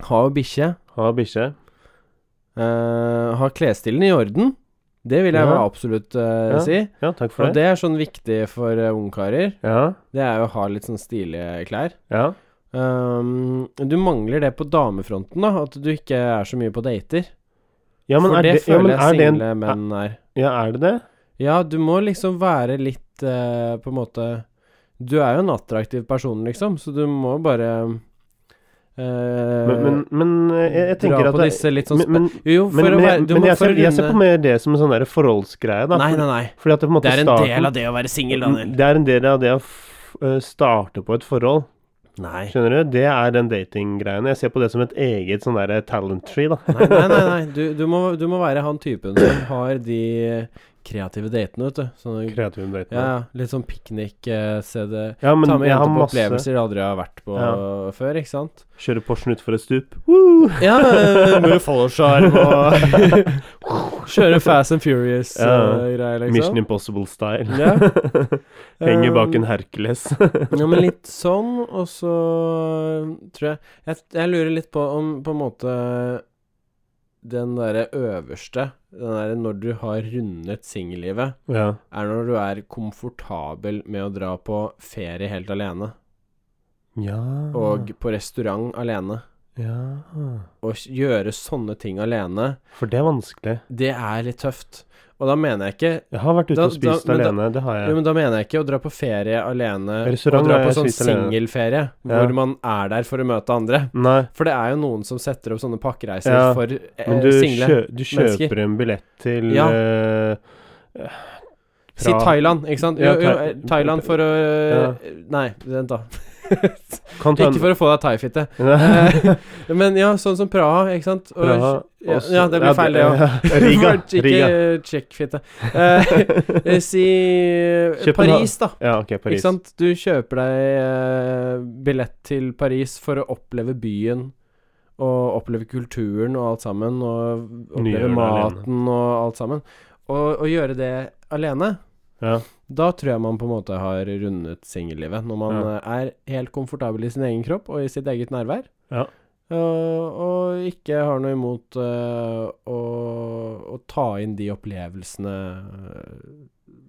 [SPEAKER 1] ha jo bikkje.
[SPEAKER 2] Har bikkje.
[SPEAKER 1] Eh, ha klesstilen i orden. Det vil jeg
[SPEAKER 2] Ja.
[SPEAKER 1] vel absolutt eh,
[SPEAKER 2] Ja,
[SPEAKER 1] si.
[SPEAKER 2] Ja, takk for
[SPEAKER 1] Og
[SPEAKER 2] det.
[SPEAKER 1] det er sånn viktig for eh, ungkarer.
[SPEAKER 2] Ja.
[SPEAKER 1] Det er jo å ha litt sånn stilige klær.
[SPEAKER 2] Ja.
[SPEAKER 1] Ehm, du mangler det på damefronten, da. At du ikke er så mye på dater.
[SPEAKER 2] Ja, men
[SPEAKER 1] For
[SPEAKER 2] er
[SPEAKER 1] det,
[SPEAKER 2] det, ja, men
[SPEAKER 1] føler
[SPEAKER 2] er
[SPEAKER 1] jeg
[SPEAKER 2] det en,
[SPEAKER 1] single menn er.
[SPEAKER 2] Ja, er det det?
[SPEAKER 1] Ja, du må liksom være litt eh, På en måte Du er jo en attraktiv person, liksom, så du må bare eh,
[SPEAKER 2] Men, men, men eh, jeg, jeg tenker
[SPEAKER 1] dra
[SPEAKER 2] at
[SPEAKER 1] på
[SPEAKER 2] det,
[SPEAKER 1] disse litt sånn
[SPEAKER 2] men, men,
[SPEAKER 1] spe- Jo, jo, for
[SPEAKER 2] men,
[SPEAKER 1] å
[SPEAKER 2] men,
[SPEAKER 1] være
[SPEAKER 2] jeg-
[SPEAKER 1] Du
[SPEAKER 2] men
[SPEAKER 1] må
[SPEAKER 2] jeg,
[SPEAKER 1] for
[SPEAKER 2] ser,
[SPEAKER 1] å
[SPEAKER 2] jeg ser på
[SPEAKER 1] runde
[SPEAKER 2] mer det som en sånn der forholdsgreie, da.
[SPEAKER 1] Nei,
[SPEAKER 2] for-
[SPEAKER 1] nei, nei.
[SPEAKER 2] Fordi at det, på en måte
[SPEAKER 1] Det er en
[SPEAKER 2] starten,
[SPEAKER 1] del av det å være singel, Daniel.
[SPEAKER 2] Det er en del av det å f eh, starte på et forhold,
[SPEAKER 1] Nei.
[SPEAKER 2] skjønner du? Det er den datinggreiene. Jeg ser på det som et eget sånn der talent tree, da.
[SPEAKER 1] Nei, nei, nei. nei. Du, du, må, du må være han typen som har de kreative datene, vet du. Sånne,
[SPEAKER 2] Kreativ dating.
[SPEAKER 1] ja, ja, litt sånn piknik, eh, se det
[SPEAKER 2] ja, men
[SPEAKER 1] Ta med
[SPEAKER 2] jeg
[SPEAKER 1] jenter
[SPEAKER 2] har
[SPEAKER 1] på
[SPEAKER 2] masse
[SPEAKER 1] opplevelser du aldri har vært på
[SPEAKER 2] Ja.
[SPEAKER 1] før, ikke sant?
[SPEAKER 2] Kjøre Porschen utfor et stup. Woo!
[SPEAKER 1] Ja, eh, med fallskjerm og Kjøre Fast and
[SPEAKER 2] Ja.
[SPEAKER 1] Furious-greier,
[SPEAKER 2] Mission
[SPEAKER 1] liksom.
[SPEAKER 2] Impossible-style.
[SPEAKER 1] Ja.
[SPEAKER 2] Henger bak
[SPEAKER 1] Um,
[SPEAKER 2] en Hercules.
[SPEAKER 1] Eh, Ja, men litt sånn, og så eh, tror jeg Jeg, jeg lurer litt på om på en måte den derre øverste, den derre når du har rundet singellivet,
[SPEAKER 2] ja.
[SPEAKER 1] er når du er komfortabel med å dra på ferie helt alene,
[SPEAKER 2] ja.
[SPEAKER 1] og på restaurant alene.
[SPEAKER 2] ja.
[SPEAKER 1] Å gjøre sånne ting alene,
[SPEAKER 2] For det er vanskelig.
[SPEAKER 1] det er litt tøft. Og da mener jeg ikke
[SPEAKER 2] Jeg har vært ute
[SPEAKER 1] Da-
[SPEAKER 2] og spist
[SPEAKER 1] da- men da-
[SPEAKER 2] alene, det har
[SPEAKER 1] Jo,
[SPEAKER 2] jeg.
[SPEAKER 1] men da mener jeg ikke å dra på ferie alene
[SPEAKER 2] Restaurant
[SPEAKER 1] og dra
[SPEAKER 2] har
[SPEAKER 1] på
[SPEAKER 2] jeg
[SPEAKER 1] sånn
[SPEAKER 2] spist alene.
[SPEAKER 1] singelferie,
[SPEAKER 2] Ja.
[SPEAKER 1] hvor man er der for å møte andre.
[SPEAKER 2] Nei,
[SPEAKER 1] For det er jo noen som setter opp sånne pakkereiser
[SPEAKER 2] Ja,
[SPEAKER 1] for eh,
[SPEAKER 2] men du,
[SPEAKER 1] single.
[SPEAKER 2] kjø du
[SPEAKER 1] mennesker.
[SPEAKER 2] kjøper en billett til
[SPEAKER 1] Ja.
[SPEAKER 2] eh,
[SPEAKER 1] Si
[SPEAKER 2] Pra-
[SPEAKER 1] Thailand, ikke sant? Jo,
[SPEAKER 2] Ja,
[SPEAKER 1] jo,
[SPEAKER 2] Thai-
[SPEAKER 1] eh, Thailand for å Nei, vent, da.
[SPEAKER 2] Kan ta en-
[SPEAKER 1] Ikke for å få deg thaifitte.
[SPEAKER 2] Nei.
[SPEAKER 1] Eh, Men ja, sånn som Praha, ikke sant? Og,
[SPEAKER 2] Praha,
[SPEAKER 1] ja,
[SPEAKER 2] og så-
[SPEAKER 1] ja, det blir feil, det òg.
[SPEAKER 2] ja. Riga. Riga.
[SPEAKER 1] Ikke tsjekkfitte. Eh, si eh,
[SPEAKER 2] København.
[SPEAKER 1] Paris, da.
[SPEAKER 2] Ja, ok, Paris.
[SPEAKER 1] Ikke sant? Du kjøper deg eh, billett til Paris for å oppleve byen og oppleve kulturen og alt sammen, og oppleve
[SPEAKER 2] Nygjør det
[SPEAKER 1] maten og alt sammen. Og å gjøre det alene,
[SPEAKER 2] Ja.
[SPEAKER 1] da tror jeg man på en måte har rundet singellivet. Når man
[SPEAKER 2] Ja.
[SPEAKER 1] eh, er helt komfortabel i sin egen kropp og i sitt eget nærvær.
[SPEAKER 2] Ja.
[SPEAKER 1] Eh, og ikke har noe imot eh, å, å ta inn de opplevelsene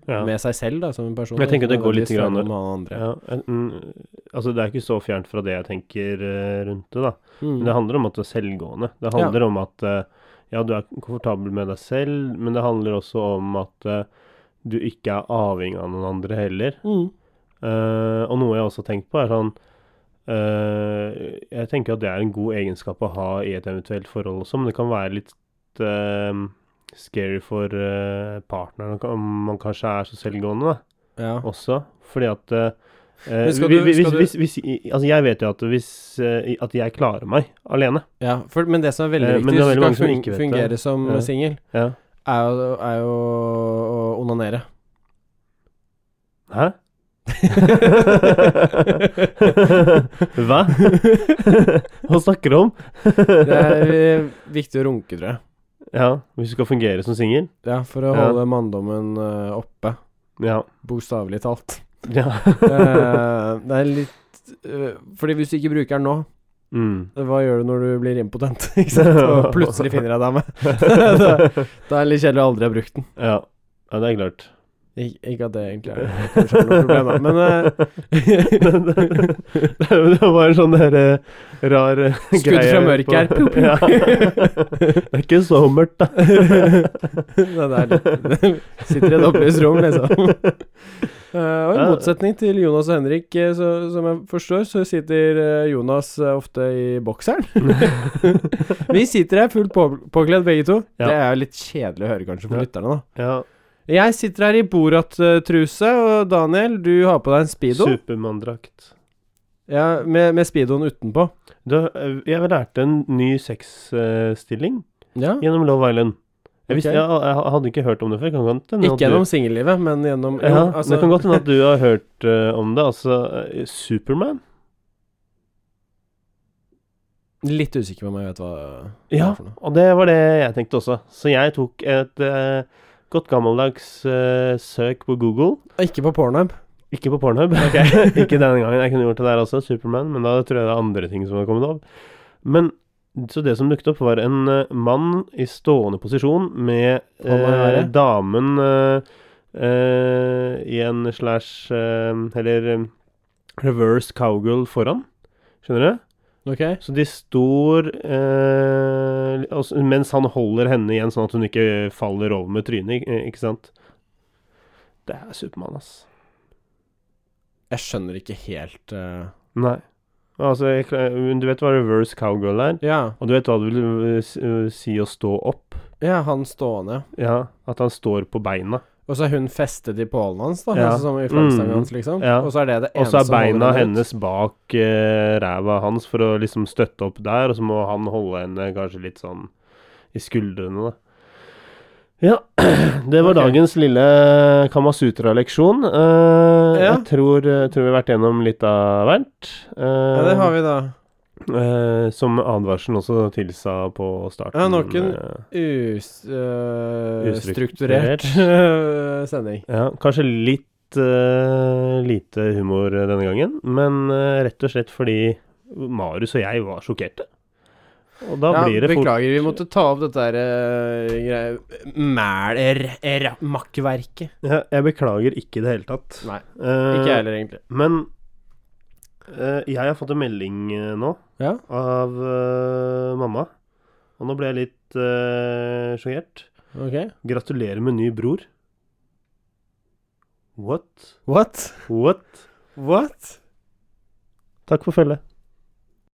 [SPEAKER 2] Ja.
[SPEAKER 1] med seg selv, da, som en person.
[SPEAKER 2] Jeg tenker
[SPEAKER 1] ikke
[SPEAKER 2] det går litt
[SPEAKER 1] nødvendigvis
[SPEAKER 2] grann-
[SPEAKER 1] føler om han andre.
[SPEAKER 2] Ja, enten- altså det er ikke så fjernt fra det jeg tenker eh, rundt det, da.
[SPEAKER 1] Mm.
[SPEAKER 2] Men det handler om at du er selvgående. Det handler om at eh, ja, du er komfortabel med deg selv, men det handler også om at eh, du ikke er avhengig av noen andre heller.
[SPEAKER 1] Mm.
[SPEAKER 2] Eh, og noe jeg også har tenkt på, er sånn eh, Jeg tenker at det er en god egenskap å ha i et eventuelt forhold også, men det kan være litt eh, scary for eh, partneren om man kanskje er så selvgående, da,
[SPEAKER 1] Ja.
[SPEAKER 2] også. Fordi at eh, eh,
[SPEAKER 1] Men skal du-
[SPEAKER 2] vi- vi- hvis,
[SPEAKER 1] skal du-
[SPEAKER 2] hvis, hvis, i- altså jeg vet jo at hvis eh, i- At jeg klarer meg alene.
[SPEAKER 1] ja for, men det som er veldig
[SPEAKER 2] Eh, men
[SPEAKER 1] viktig
[SPEAKER 2] det
[SPEAKER 1] hvis
[SPEAKER 2] er veldig
[SPEAKER 1] du skal
[SPEAKER 2] mange som
[SPEAKER 1] fun
[SPEAKER 2] ikke vet det.
[SPEAKER 1] fungere som
[SPEAKER 2] Ja.
[SPEAKER 1] singel,
[SPEAKER 2] Ja.
[SPEAKER 1] er, jo- er jo å onanere.
[SPEAKER 2] Hæ? Hva? Hva snakker du om?
[SPEAKER 1] Det er eh, viktig å runke, tror jeg.
[SPEAKER 2] Ja, hvis du skal fungere som singel?
[SPEAKER 1] Ja, for å
[SPEAKER 2] Ja.
[SPEAKER 1] holde manndommen eh, oppe.
[SPEAKER 2] Ja.
[SPEAKER 1] Bokstavelig talt.
[SPEAKER 2] ja.
[SPEAKER 1] Eh, det er litt eh, Fordi hvis du ikke bruker den nå,
[SPEAKER 2] Mm.
[SPEAKER 1] hva gjør du når du blir impotent? Ikke sant? Og plutselig finner jeg dame. da, da er det litt kjedelig å aldri ha brukt den.
[SPEAKER 2] ja. ja, det er klart.
[SPEAKER 1] Ik ikke at det egentlig er kanskje noe problem, da. Men eh,
[SPEAKER 2] det var en sånn der eh, rar eh,
[SPEAKER 1] Skudd
[SPEAKER 2] greie
[SPEAKER 1] fra mørket her. Pju, pju.
[SPEAKER 2] Ja. Det er ikke så mørkt, da.
[SPEAKER 1] Nei, det er litt Sitter i et opplyst rom, liksom. Eh, og i
[SPEAKER 2] Ja.
[SPEAKER 1] motsetning til Jonas og Henrik, eh, så, som jeg forstår, så sitter eh, Jonas eh, ofte i bokseren. Vi sitter her fullt på, påkledd begge to.
[SPEAKER 2] Ja.
[SPEAKER 1] Det er jo litt kjedelig å høre, kanskje, for
[SPEAKER 2] Ja.
[SPEAKER 1] lytterne, da.
[SPEAKER 2] Ja,
[SPEAKER 1] Jeg sitter her i Borat-truse, og Daniel, du har på deg en speedo.
[SPEAKER 2] Supermann-drakt.
[SPEAKER 1] Ja, med, med speedoen utenpå.
[SPEAKER 2] Du, eh, Jeg lærte en ny sexstilling eh,
[SPEAKER 1] Ja.
[SPEAKER 2] gjennom Love Island. Jeg, visste,
[SPEAKER 1] Ok.
[SPEAKER 2] jeg, jeg, hadde ikke hørt om det før. Kan godt hende at
[SPEAKER 1] Ikke
[SPEAKER 2] du-
[SPEAKER 1] gjennom singellivet, men gjennom jo,
[SPEAKER 2] ja,
[SPEAKER 1] altså-
[SPEAKER 2] Det kan godt hende at du har hørt eh, om det. Altså, eh, Superman?
[SPEAKER 1] Litt usikker på om jeg vet hva hva det
[SPEAKER 2] Ja,
[SPEAKER 1] er for noe.
[SPEAKER 2] og det var det jeg tenkte også. Så jeg tok et eh, godt gammeldags eh, søk på Google.
[SPEAKER 1] Ikke på Pornhub.
[SPEAKER 2] Ikke på Pornhub, ikke denne gangen. Jeg kunne gjort det der også, Superman, men da tror jeg det er andre ting som har kommet opp. Men så det som dukket opp, var en eh, mann i stående posisjon med eh,
[SPEAKER 1] Hånda i været.
[SPEAKER 2] damen eh, eh, i en slash eh, Eller eh, reverse cowgirl foran. Skjønner du?
[SPEAKER 1] Ok?
[SPEAKER 2] Så de står eh, altså, Mens han holder henne igjen, sånn at hun ikke faller over med trynet, ikke- ikke sant? Det er Supermann, ass.
[SPEAKER 1] Jeg skjønner ikke helt eh,
[SPEAKER 2] Nei. Altså, jeg, kla- men du vet hva reverse cowgirl er?
[SPEAKER 1] ja,
[SPEAKER 2] Og du vet hva det vil eh, s- eh, si å stå opp?
[SPEAKER 1] ja, han stående.
[SPEAKER 2] Ja, at han står på beina.
[SPEAKER 1] Og så er hun festet i pålen hans, da.
[SPEAKER 2] Ja.
[SPEAKER 1] Altså, som i flaggstangen
[SPEAKER 2] Mm.
[SPEAKER 1] hans, liksom.
[SPEAKER 2] Ja.
[SPEAKER 1] Og så er det det
[SPEAKER 2] Og
[SPEAKER 1] eneste
[SPEAKER 2] så
[SPEAKER 1] som
[SPEAKER 2] er
[SPEAKER 1] holder
[SPEAKER 2] beina
[SPEAKER 1] henne ut.
[SPEAKER 2] hennes bak eh, ræva hans for å liksom støtte opp der, og så må han holde henne kanskje litt sånn i skuldrene, da. Ja, det var
[SPEAKER 1] Ok.
[SPEAKER 2] dagens lille eh, Kamasutra-leksjon. Eh,
[SPEAKER 1] Ja.
[SPEAKER 2] Jeg tror, eh, tror vi har vært gjennom litt av hvert. Eh,
[SPEAKER 1] Ja, det har vi, da.
[SPEAKER 2] eh, som advarselen også tilsa på starten.
[SPEAKER 1] Ja, nok en-
[SPEAKER 2] eh, Ustrukturert.
[SPEAKER 1] Ustrukturert øh, sending.
[SPEAKER 2] Ja, kanskje litt eh, lite humor denne gangen, men eh, rett og slett fordi Marius og jeg var sjokkerte. Og da
[SPEAKER 1] Ja,
[SPEAKER 2] blir det fort
[SPEAKER 1] beklager, vi måtte ta opp dette her uh, greia Mæl-makkverket.
[SPEAKER 2] ja, Jeg beklager ikke i det hele tatt.
[SPEAKER 1] Nei,
[SPEAKER 2] Eh,
[SPEAKER 1] Ikke jeg heller, egentlig.
[SPEAKER 2] Men eh, jeg har fått en melding eh, nå
[SPEAKER 1] Ja.
[SPEAKER 2] av eh, mamma, og nå ble jeg litt uh, sjokkert.
[SPEAKER 1] Ok.
[SPEAKER 2] Gratulerer med ny bror. What?
[SPEAKER 1] What?
[SPEAKER 2] What?
[SPEAKER 1] What?
[SPEAKER 2] Takk for følget.